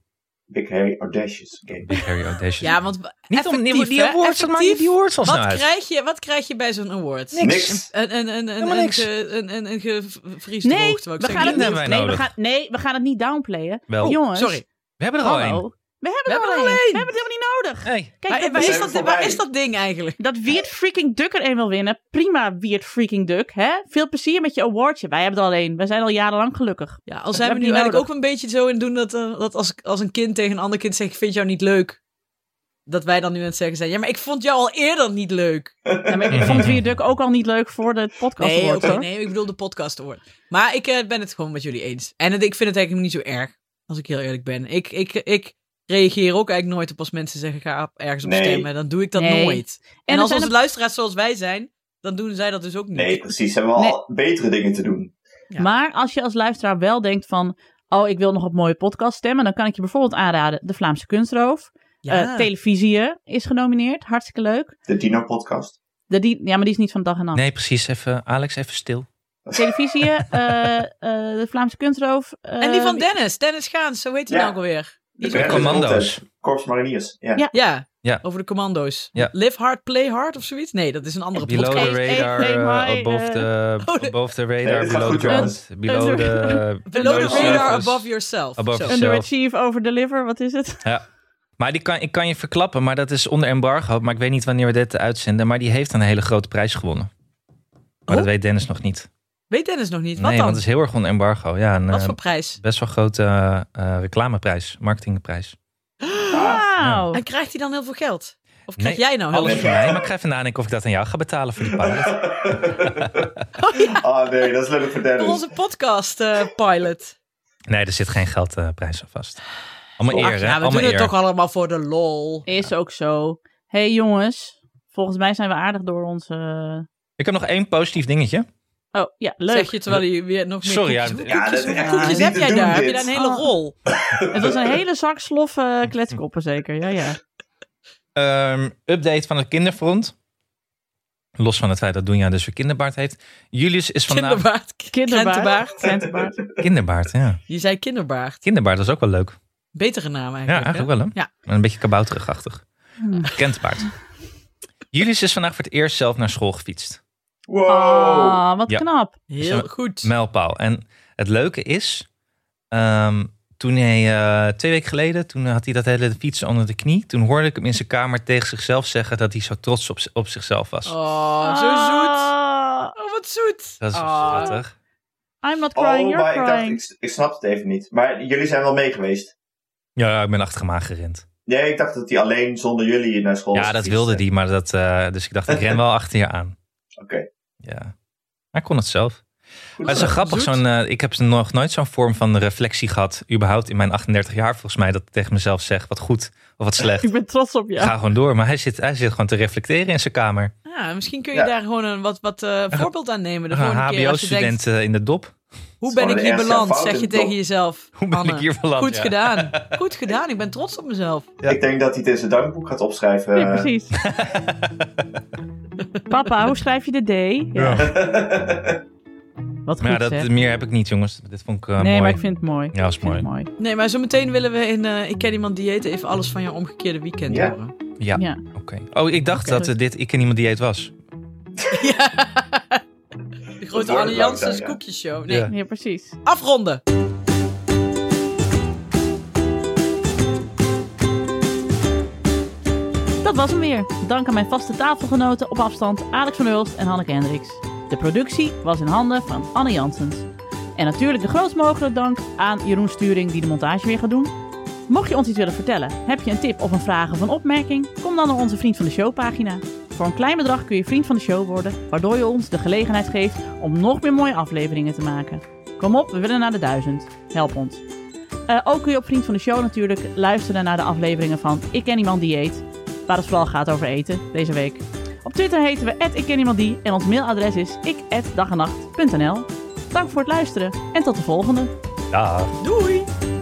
[SPEAKER 2] Big Harry Audacious Game.
[SPEAKER 4] Big Harry Audacious.
[SPEAKER 1] Ja, want
[SPEAKER 4] niet om
[SPEAKER 1] effectief,
[SPEAKER 4] die, die
[SPEAKER 1] hè?
[SPEAKER 4] awards, dat maakt
[SPEAKER 1] Effectief.
[SPEAKER 4] die awards al snel
[SPEAKER 3] nou
[SPEAKER 1] Wat
[SPEAKER 4] uit.
[SPEAKER 1] krijg, je, wat krijg je bij zo'n award?
[SPEAKER 2] Niks.
[SPEAKER 1] Een, een, een, een,
[SPEAKER 4] Helemaal
[SPEAKER 1] een,
[SPEAKER 4] niks.
[SPEAKER 1] ge- een, een, een gevriesde
[SPEAKER 3] Nee,
[SPEAKER 1] hoogte, wou ik
[SPEAKER 3] we
[SPEAKER 1] zeggen.
[SPEAKER 3] gaan, het
[SPEAKER 4] Kinderen
[SPEAKER 3] niet,
[SPEAKER 4] hebben wij
[SPEAKER 3] nee, we,
[SPEAKER 4] nodig.
[SPEAKER 3] gaan, nee, we gaan het niet downplayen.
[SPEAKER 4] Wel,
[SPEAKER 1] Oh,
[SPEAKER 3] Jongens.
[SPEAKER 1] Sorry.
[SPEAKER 4] we hebben er al
[SPEAKER 3] Hallo.
[SPEAKER 4] één.
[SPEAKER 3] We hebben er
[SPEAKER 1] We
[SPEAKER 3] al
[SPEAKER 1] hebben er
[SPEAKER 3] één.
[SPEAKER 1] al één.
[SPEAKER 3] We hebben het helemaal niet nodig.
[SPEAKER 4] Hey.
[SPEAKER 3] Kijk,
[SPEAKER 1] Maar
[SPEAKER 3] dat,
[SPEAKER 1] waar, is
[SPEAKER 2] zijn
[SPEAKER 1] dat,
[SPEAKER 2] we
[SPEAKER 1] waar
[SPEAKER 2] voorbij.
[SPEAKER 1] is dat ding eigenlijk?
[SPEAKER 3] dat Weird Freaking Duck er een wil winnen. Prima, Weird Freaking Duck. Hè? Veel plezier met je awardje. Wij hebben er al één. Wij zijn al jarenlang gelukkig.
[SPEAKER 1] Ja, al zijn we
[SPEAKER 3] heb
[SPEAKER 1] nu
[SPEAKER 3] je
[SPEAKER 1] eigenlijk ook
[SPEAKER 3] nodig.
[SPEAKER 1] een beetje zo in doen dat, eh, dat als, als een kind tegen een ander kind zegt, ik vind jou niet leuk. Dat wij dan nu aan het zeggen zijn, ja, maar ik vond jou al eerder niet leuk.
[SPEAKER 3] Ja, maar ik vond Weird Duck ook al niet leuk voor de podcast
[SPEAKER 1] Nee,
[SPEAKER 3] award,
[SPEAKER 1] oké,
[SPEAKER 3] hoor.
[SPEAKER 1] nee, ik bedoel de podcast hoor. Maar ik eh, ben het gewoon met jullie eens. En het- ik vind het eigenlijk niet zo erg, als ik heel eerlijk ben. Ik, ik, ik reageer ook eigenlijk nooit op als mensen zeggen, ga op- ergens op
[SPEAKER 2] Nee.
[SPEAKER 1] stemmen. Dan doe ik dat
[SPEAKER 3] Nee.
[SPEAKER 1] nooit. En,
[SPEAKER 3] er
[SPEAKER 1] als
[SPEAKER 3] zijn
[SPEAKER 1] onze
[SPEAKER 3] er-
[SPEAKER 1] luisteraars zoals wij zijn, dan doen zij dat dus ook niet.
[SPEAKER 2] Nee, precies. Ze hebben we al betere dingen te doen.
[SPEAKER 1] Ja.
[SPEAKER 3] Maar als je als luisteraar wel denkt van... Oh, ik wil nog op mooie podcast stemmen. Dan kan ik je bijvoorbeeld aanraden De Vlaamse Kunstroof.
[SPEAKER 1] Ja.
[SPEAKER 3] Eh, televisie is genomineerd. Hartstikke leuk.
[SPEAKER 2] De Dino Podcast.
[SPEAKER 3] De, die, ja, maar die is niet van dag en nacht.
[SPEAKER 4] Nee, precies. Even, Alex, even stil.
[SPEAKER 3] Televisie, eh, eh, De Vlaamse Kunstroof.
[SPEAKER 1] en die
[SPEAKER 3] eh,
[SPEAKER 1] van Dennis, Dennis Gaans, zo heet hij
[SPEAKER 2] Ja.
[SPEAKER 1] nou ook alweer. Die is
[SPEAKER 4] ook
[SPEAKER 1] ook-
[SPEAKER 2] Branded
[SPEAKER 4] commando's.
[SPEAKER 2] Content. Korps Mariniers. Ja.
[SPEAKER 3] Ja.
[SPEAKER 1] Ja,
[SPEAKER 4] Ja.
[SPEAKER 1] over de commando's.
[SPEAKER 4] Ja.
[SPEAKER 1] Live hard, play hard of zoiets? Nee, dat is een andere
[SPEAKER 4] Below
[SPEAKER 1] podcast.
[SPEAKER 4] the
[SPEAKER 3] Podcast.
[SPEAKER 4] radar,
[SPEAKER 3] Hey, hey,
[SPEAKER 4] eh,
[SPEAKER 3] hi,
[SPEAKER 4] above,
[SPEAKER 3] eh.
[SPEAKER 4] the,
[SPEAKER 1] Oh, nee.
[SPEAKER 4] above the
[SPEAKER 2] Nee,
[SPEAKER 4] radar,
[SPEAKER 2] dit gaat
[SPEAKER 4] below the
[SPEAKER 2] goed,
[SPEAKER 4] ground, below
[SPEAKER 3] Under-
[SPEAKER 4] the...
[SPEAKER 1] Below the
[SPEAKER 2] Below
[SPEAKER 1] radar,
[SPEAKER 4] surface.
[SPEAKER 1] above yourself.
[SPEAKER 4] Above
[SPEAKER 1] Zo.
[SPEAKER 4] yourself.
[SPEAKER 3] Underachieve, overdeliver, wat is het?
[SPEAKER 4] Ja. Maar die kan, ik kan je verklappen, maar dat is onder embargo. Maar ik weet niet wanneer we dit uitzenden. Maar die heeft een hele grote prijs gewonnen. Maar
[SPEAKER 1] Oh.
[SPEAKER 4] dat weet Dennis nog niet.
[SPEAKER 1] Weet Dennis nog niet? Wat
[SPEAKER 4] nee,
[SPEAKER 1] dan?
[SPEAKER 4] want het is heel erg onder embargo. Ja, een
[SPEAKER 1] Wat
[SPEAKER 4] eh,
[SPEAKER 1] voor prijs?
[SPEAKER 4] best wel grote eh, eh, reclameprijs, marketingprijs.
[SPEAKER 1] (laughs)
[SPEAKER 3] Wauw.
[SPEAKER 1] En krijgt hij dan heel veel geld? Of
[SPEAKER 4] Nee,
[SPEAKER 1] krijg jij nou heel
[SPEAKER 4] Alles
[SPEAKER 1] veel
[SPEAKER 4] voor mij, maar ik ga even nadenken of ik dat aan jou ga
[SPEAKER 1] (laughs)
[SPEAKER 4] betalen voor die pilot.
[SPEAKER 1] Oh ja,
[SPEAKER 2] Ah nee, dat is leuk voor
[SPEAKER 1] voor
[SPEAKER 2] Dennis.
[SPEAKER 1] onze podcast
[SPEAKER 4] (laughs)
[SPEAKER 1] eh, pilot. Nee,
[SPEAKER 4] Nee, er zit geen geldprijs aan vast. Allemaal
[SPEAKER 1] Ach,
[SPEAKER 4] eer, hè?
[SPEAKER 1] ja, we
[SPEAKER 4] Allemaal
[SPEAKER 1] doen
[SPEAKER 4] eer.
[SPEAKER 1] het toch allemaal voor de lol.
[SPEAKER 3] Is ook zo. hey, jongens, volgens mij zijn we aardig door onze...
[SPEAKER 4] Ik heb nog één positief dingetje.
[SPEAKER 3] Oh ja, leuk.
[SPEAKER 1] Zeg je terwijl je weer nog meer
[SPEAKER 4] Sorry, ja,
[SPEAKER 1] koekjes...
[SPEAKER 2] ja,
[SPEAKER 1] koekjes,
[SPEAKER 2] dat- ja,
[SPEAKER 1] hoeveel koekjes
[SPEAKER 2] niet
[SPEAKER 1] heb
[SPEAKER 2] te
[SPEAKER 1] jij
[SPEAKER 2] doen
[SPEAKER 1] daar? Heb je
[SPEAKER 2] dit.
[SPEAKER 1] daar een hele
[SPEAKER 3] Ah.
[SPEAKER 1] rol?
[SPEAKER 3] Het was een hele zak sloffe kletskoppen zeker. Ja, ja.
[SPEAKER 4] Ehm, update van het kinderfront. Los van het feit dat Doenja dus weer kinderbaard heeft. Julius is vandaag... Kinderbaard,
[SPEAKER 1] Kinderbaard. Krentenbaard.
[SPEAKER 3] Kinderbaard. Krentenbaard.
[SPEAKER 4] ja.
[SPEAKER 1] Je zei kinderbaard.
[SPEAKER 4] Kinderbaard, dat is ook wel leuk.
[SPEAKER 1] Betere naam
[SPEAKER 4] Ja,
[SPEAKER 1] eigenlijk.
[SPEAKER 4] eigenlijk wel, hè?
[SPEAKER 1] Ja.
[SPEAKER 4] Maar Een beetje kabouterigachtig.
[SPEAKER 3] Hmm.
[SPEAKER 4] Kentbaard. Julius is vandaag voor het eerst zelf naar school gefietst.
[SPEAKER 2] Wow.
[SPEAKER 3] Ah, wat
[SPEAKER 4] Ja.
[SPEAKER 3] knap.
[SPEAKER 1] hè? Heel goed.
[SPEAKER 4] Mijlpaal. En het leuke is... ehm, toen hij eh, twee weken geleden, toen had hij dat hele fietsen onder de knie. Toen hoorde ik hem in zijn kamer tegen zichzelf zeggen dat hij zo trots op, op zichzelf was.
[SPEAKER 1] Oh, zo zoet.
[SPEAKER 3] Ah,
[SPEAKER 1] Oh, wat zoet.
[SPEAKER 4] Dat is
[SPEAKER 1] Ah.
[SPEAKER 4] schattig.
[SPEAKER 3] I'm not
[SPEAKER 2] Oh,
[SPEAKER 3] crying, you're
[SPEAKER 2] maar ik dacht,
[SPEAKER 3] crying.
[SPEAKER 2] ik, ik snap het even niet. Maar jullie zijn wel mee geweest.
[SPEAKER 4] Ja, ik ben achter hem aangerend.
[SPEAKER 2] Nee, ik dacht dat hij alleen zonder jullie naar school
[SPEAKER 4] Ja, dat wilde
[SPEAKER 2] die.
[SPEAKER 4] die, maar dat... eh, dus ik dacht, ik ren wel achter je aan.
[SPEAKER 2] Oké.
[SPEAKER 4] Ja. Hij kon het zelf. Maar het is
[SPEAKER 1] zo.
[SPEAKER 4] wel grappig,
[SPEAKER 1] Zoet.
[SPEAKER 4] zo'n, eh, ik heb nog nooit zo'n vorm van reflectie gehad, überhaupt in mijn 38 jaar volgens mij, dat ik tegen mezelf zeg, wat goed of wat
[SPEAKER 3] (laughs)
[SPEAKER 4] slecht.
[SPEAKER 3] Ik ben trots op
[SPEAKER 4] Ga
[SPEAKER 3] jou.
[SPEAKER 4] gewoon door, maar hij zit, hij zit gewoon te reflecteren in zijn kamer.
[SPEAKER 1] Ja, misschien kun je
[SPEAKER 2] Ja.
[SPEAKER 1] daar gewoon een wat, wat
[SPEAKER 4] (laughs)
[SPEAKER 1] eh, voorbeeld aan nemen. De
[SPEAKER 4] Een
[SPEAKER 1] volgende keer als je
[SPEAKER 4] hbo-student
[SPEAKER 1] denkt,
[SPEAKER 4] eh, in de dop.
[SPEAKER 1] hoe ben
[SPEAKER 2] Gewoon
[SPEAKER 1] ik hier
[SPEAKER 2] een ernstige
[SPEAKER 1] beland?
[SPEAKER 2] fout
[SPEAKER 1] Zeg
[SPEAKER 2] in
[SPEAKER 1] je
[SPEAKER 2] de
[SPEAKER 1] tegen
[SPEAKER 2] top.
[SPEAKER 1] jezelf.
[SPEAKER 4] (laughs) Hoe ben
[SPEAKER 1] Anne,
[SPEAKER 4] ik hier beland?
[SPEAKER 1] Goed
[SPEAKER 4] Ja. (laughs)
[SPEAKER 1] gedaan. Goed gedaan. Ik ben trots op mezelf.
[SPEAKER 4] Ja.
[SPEAKER 2] Ik denk dat hij het in zijn dankboek gaat opschrijven.
[SPEAKER 3] Ja, precies. Papa, hoe schrijf je de D? Ja. Wat goed
[SPEAKER 4] Maar ja,
[SPEAKER 3] zeg.
[SPEAKER 4] Nou, dat, meer heb ik niet, jongens. Dit vond ik eh,
[SPEAKER 3] nee,
[SPEAKER 4] mooi.
[SPEAKER 3] maar ik vind het mooi.
[SPEAKER 4] Ja, dat is
[SPEAKER 3] Ik vind het mooi.
[SPEAKER 1] Nee, maar zometeen willen we in eh, Ik Ken Iemand Dieet even alles van jouw omgekeerde weekend
[SPEAKER 2] Ja.
[SPEAKER 1] horen.
[SPEAKER 4] Ja,
[SPEAKER 3] Ja.
[SPEAKER 4] oké. Oh, ik dacht
[SPEAKER 3] Oké.
[SPEAKER 4] dat eh, dit Ik en Iemand Dieet was.
[SPEAKER 1] Ja. De
[SPEAKER 2] wordt
[SPEAKER 1] grote
[SPEAKER 2] het
[SPEAKER 1] Alliances
[SPEAKER 2] langzaam, ja.
[SPEAKER 1] koekjesshow. Nee,
[SPEAKER 4] Ja.
[SPEAKER 3] Ja, precies.
[SPEAKER 1] afronden.
[SPEAKER 3] Dat was hem weer. Dank aan mijn vaste tafelgenoten op afstand Alex van Hulst en Hanneke Hendricks. De productie was in handen van Anne Janssens. En natuurlijk de grootst mogelijke dank aan Jeroen Sturing die de montage weer gaat doen. Mocht je ons iets willen vertellen, heb je een tip of een vraag of een opmerking, kom dan naar onze Vriend van de Show pagina. Voor een klein bedrag kun je Vriend van de Show worden, waardoor je ons de gelegenheid geeft om nog meer mooie afleveringen te maken. Kom op, we willen naar de duizend. Help ons. Eh, ook kun je op Vriend van de Show natuurlijk luisteren naar de afleveringen van Ik Ken Iemand Die Eet, waar het vooral gaat over eten deze week. Op Twitter heten we @ikkenniemandie en ons mailadres is ik@dagennacht.nl. Dank voor het luisteren en tot de volgende.
[SPEAKER 4] Ja.
[SPEAKER 1] Doei.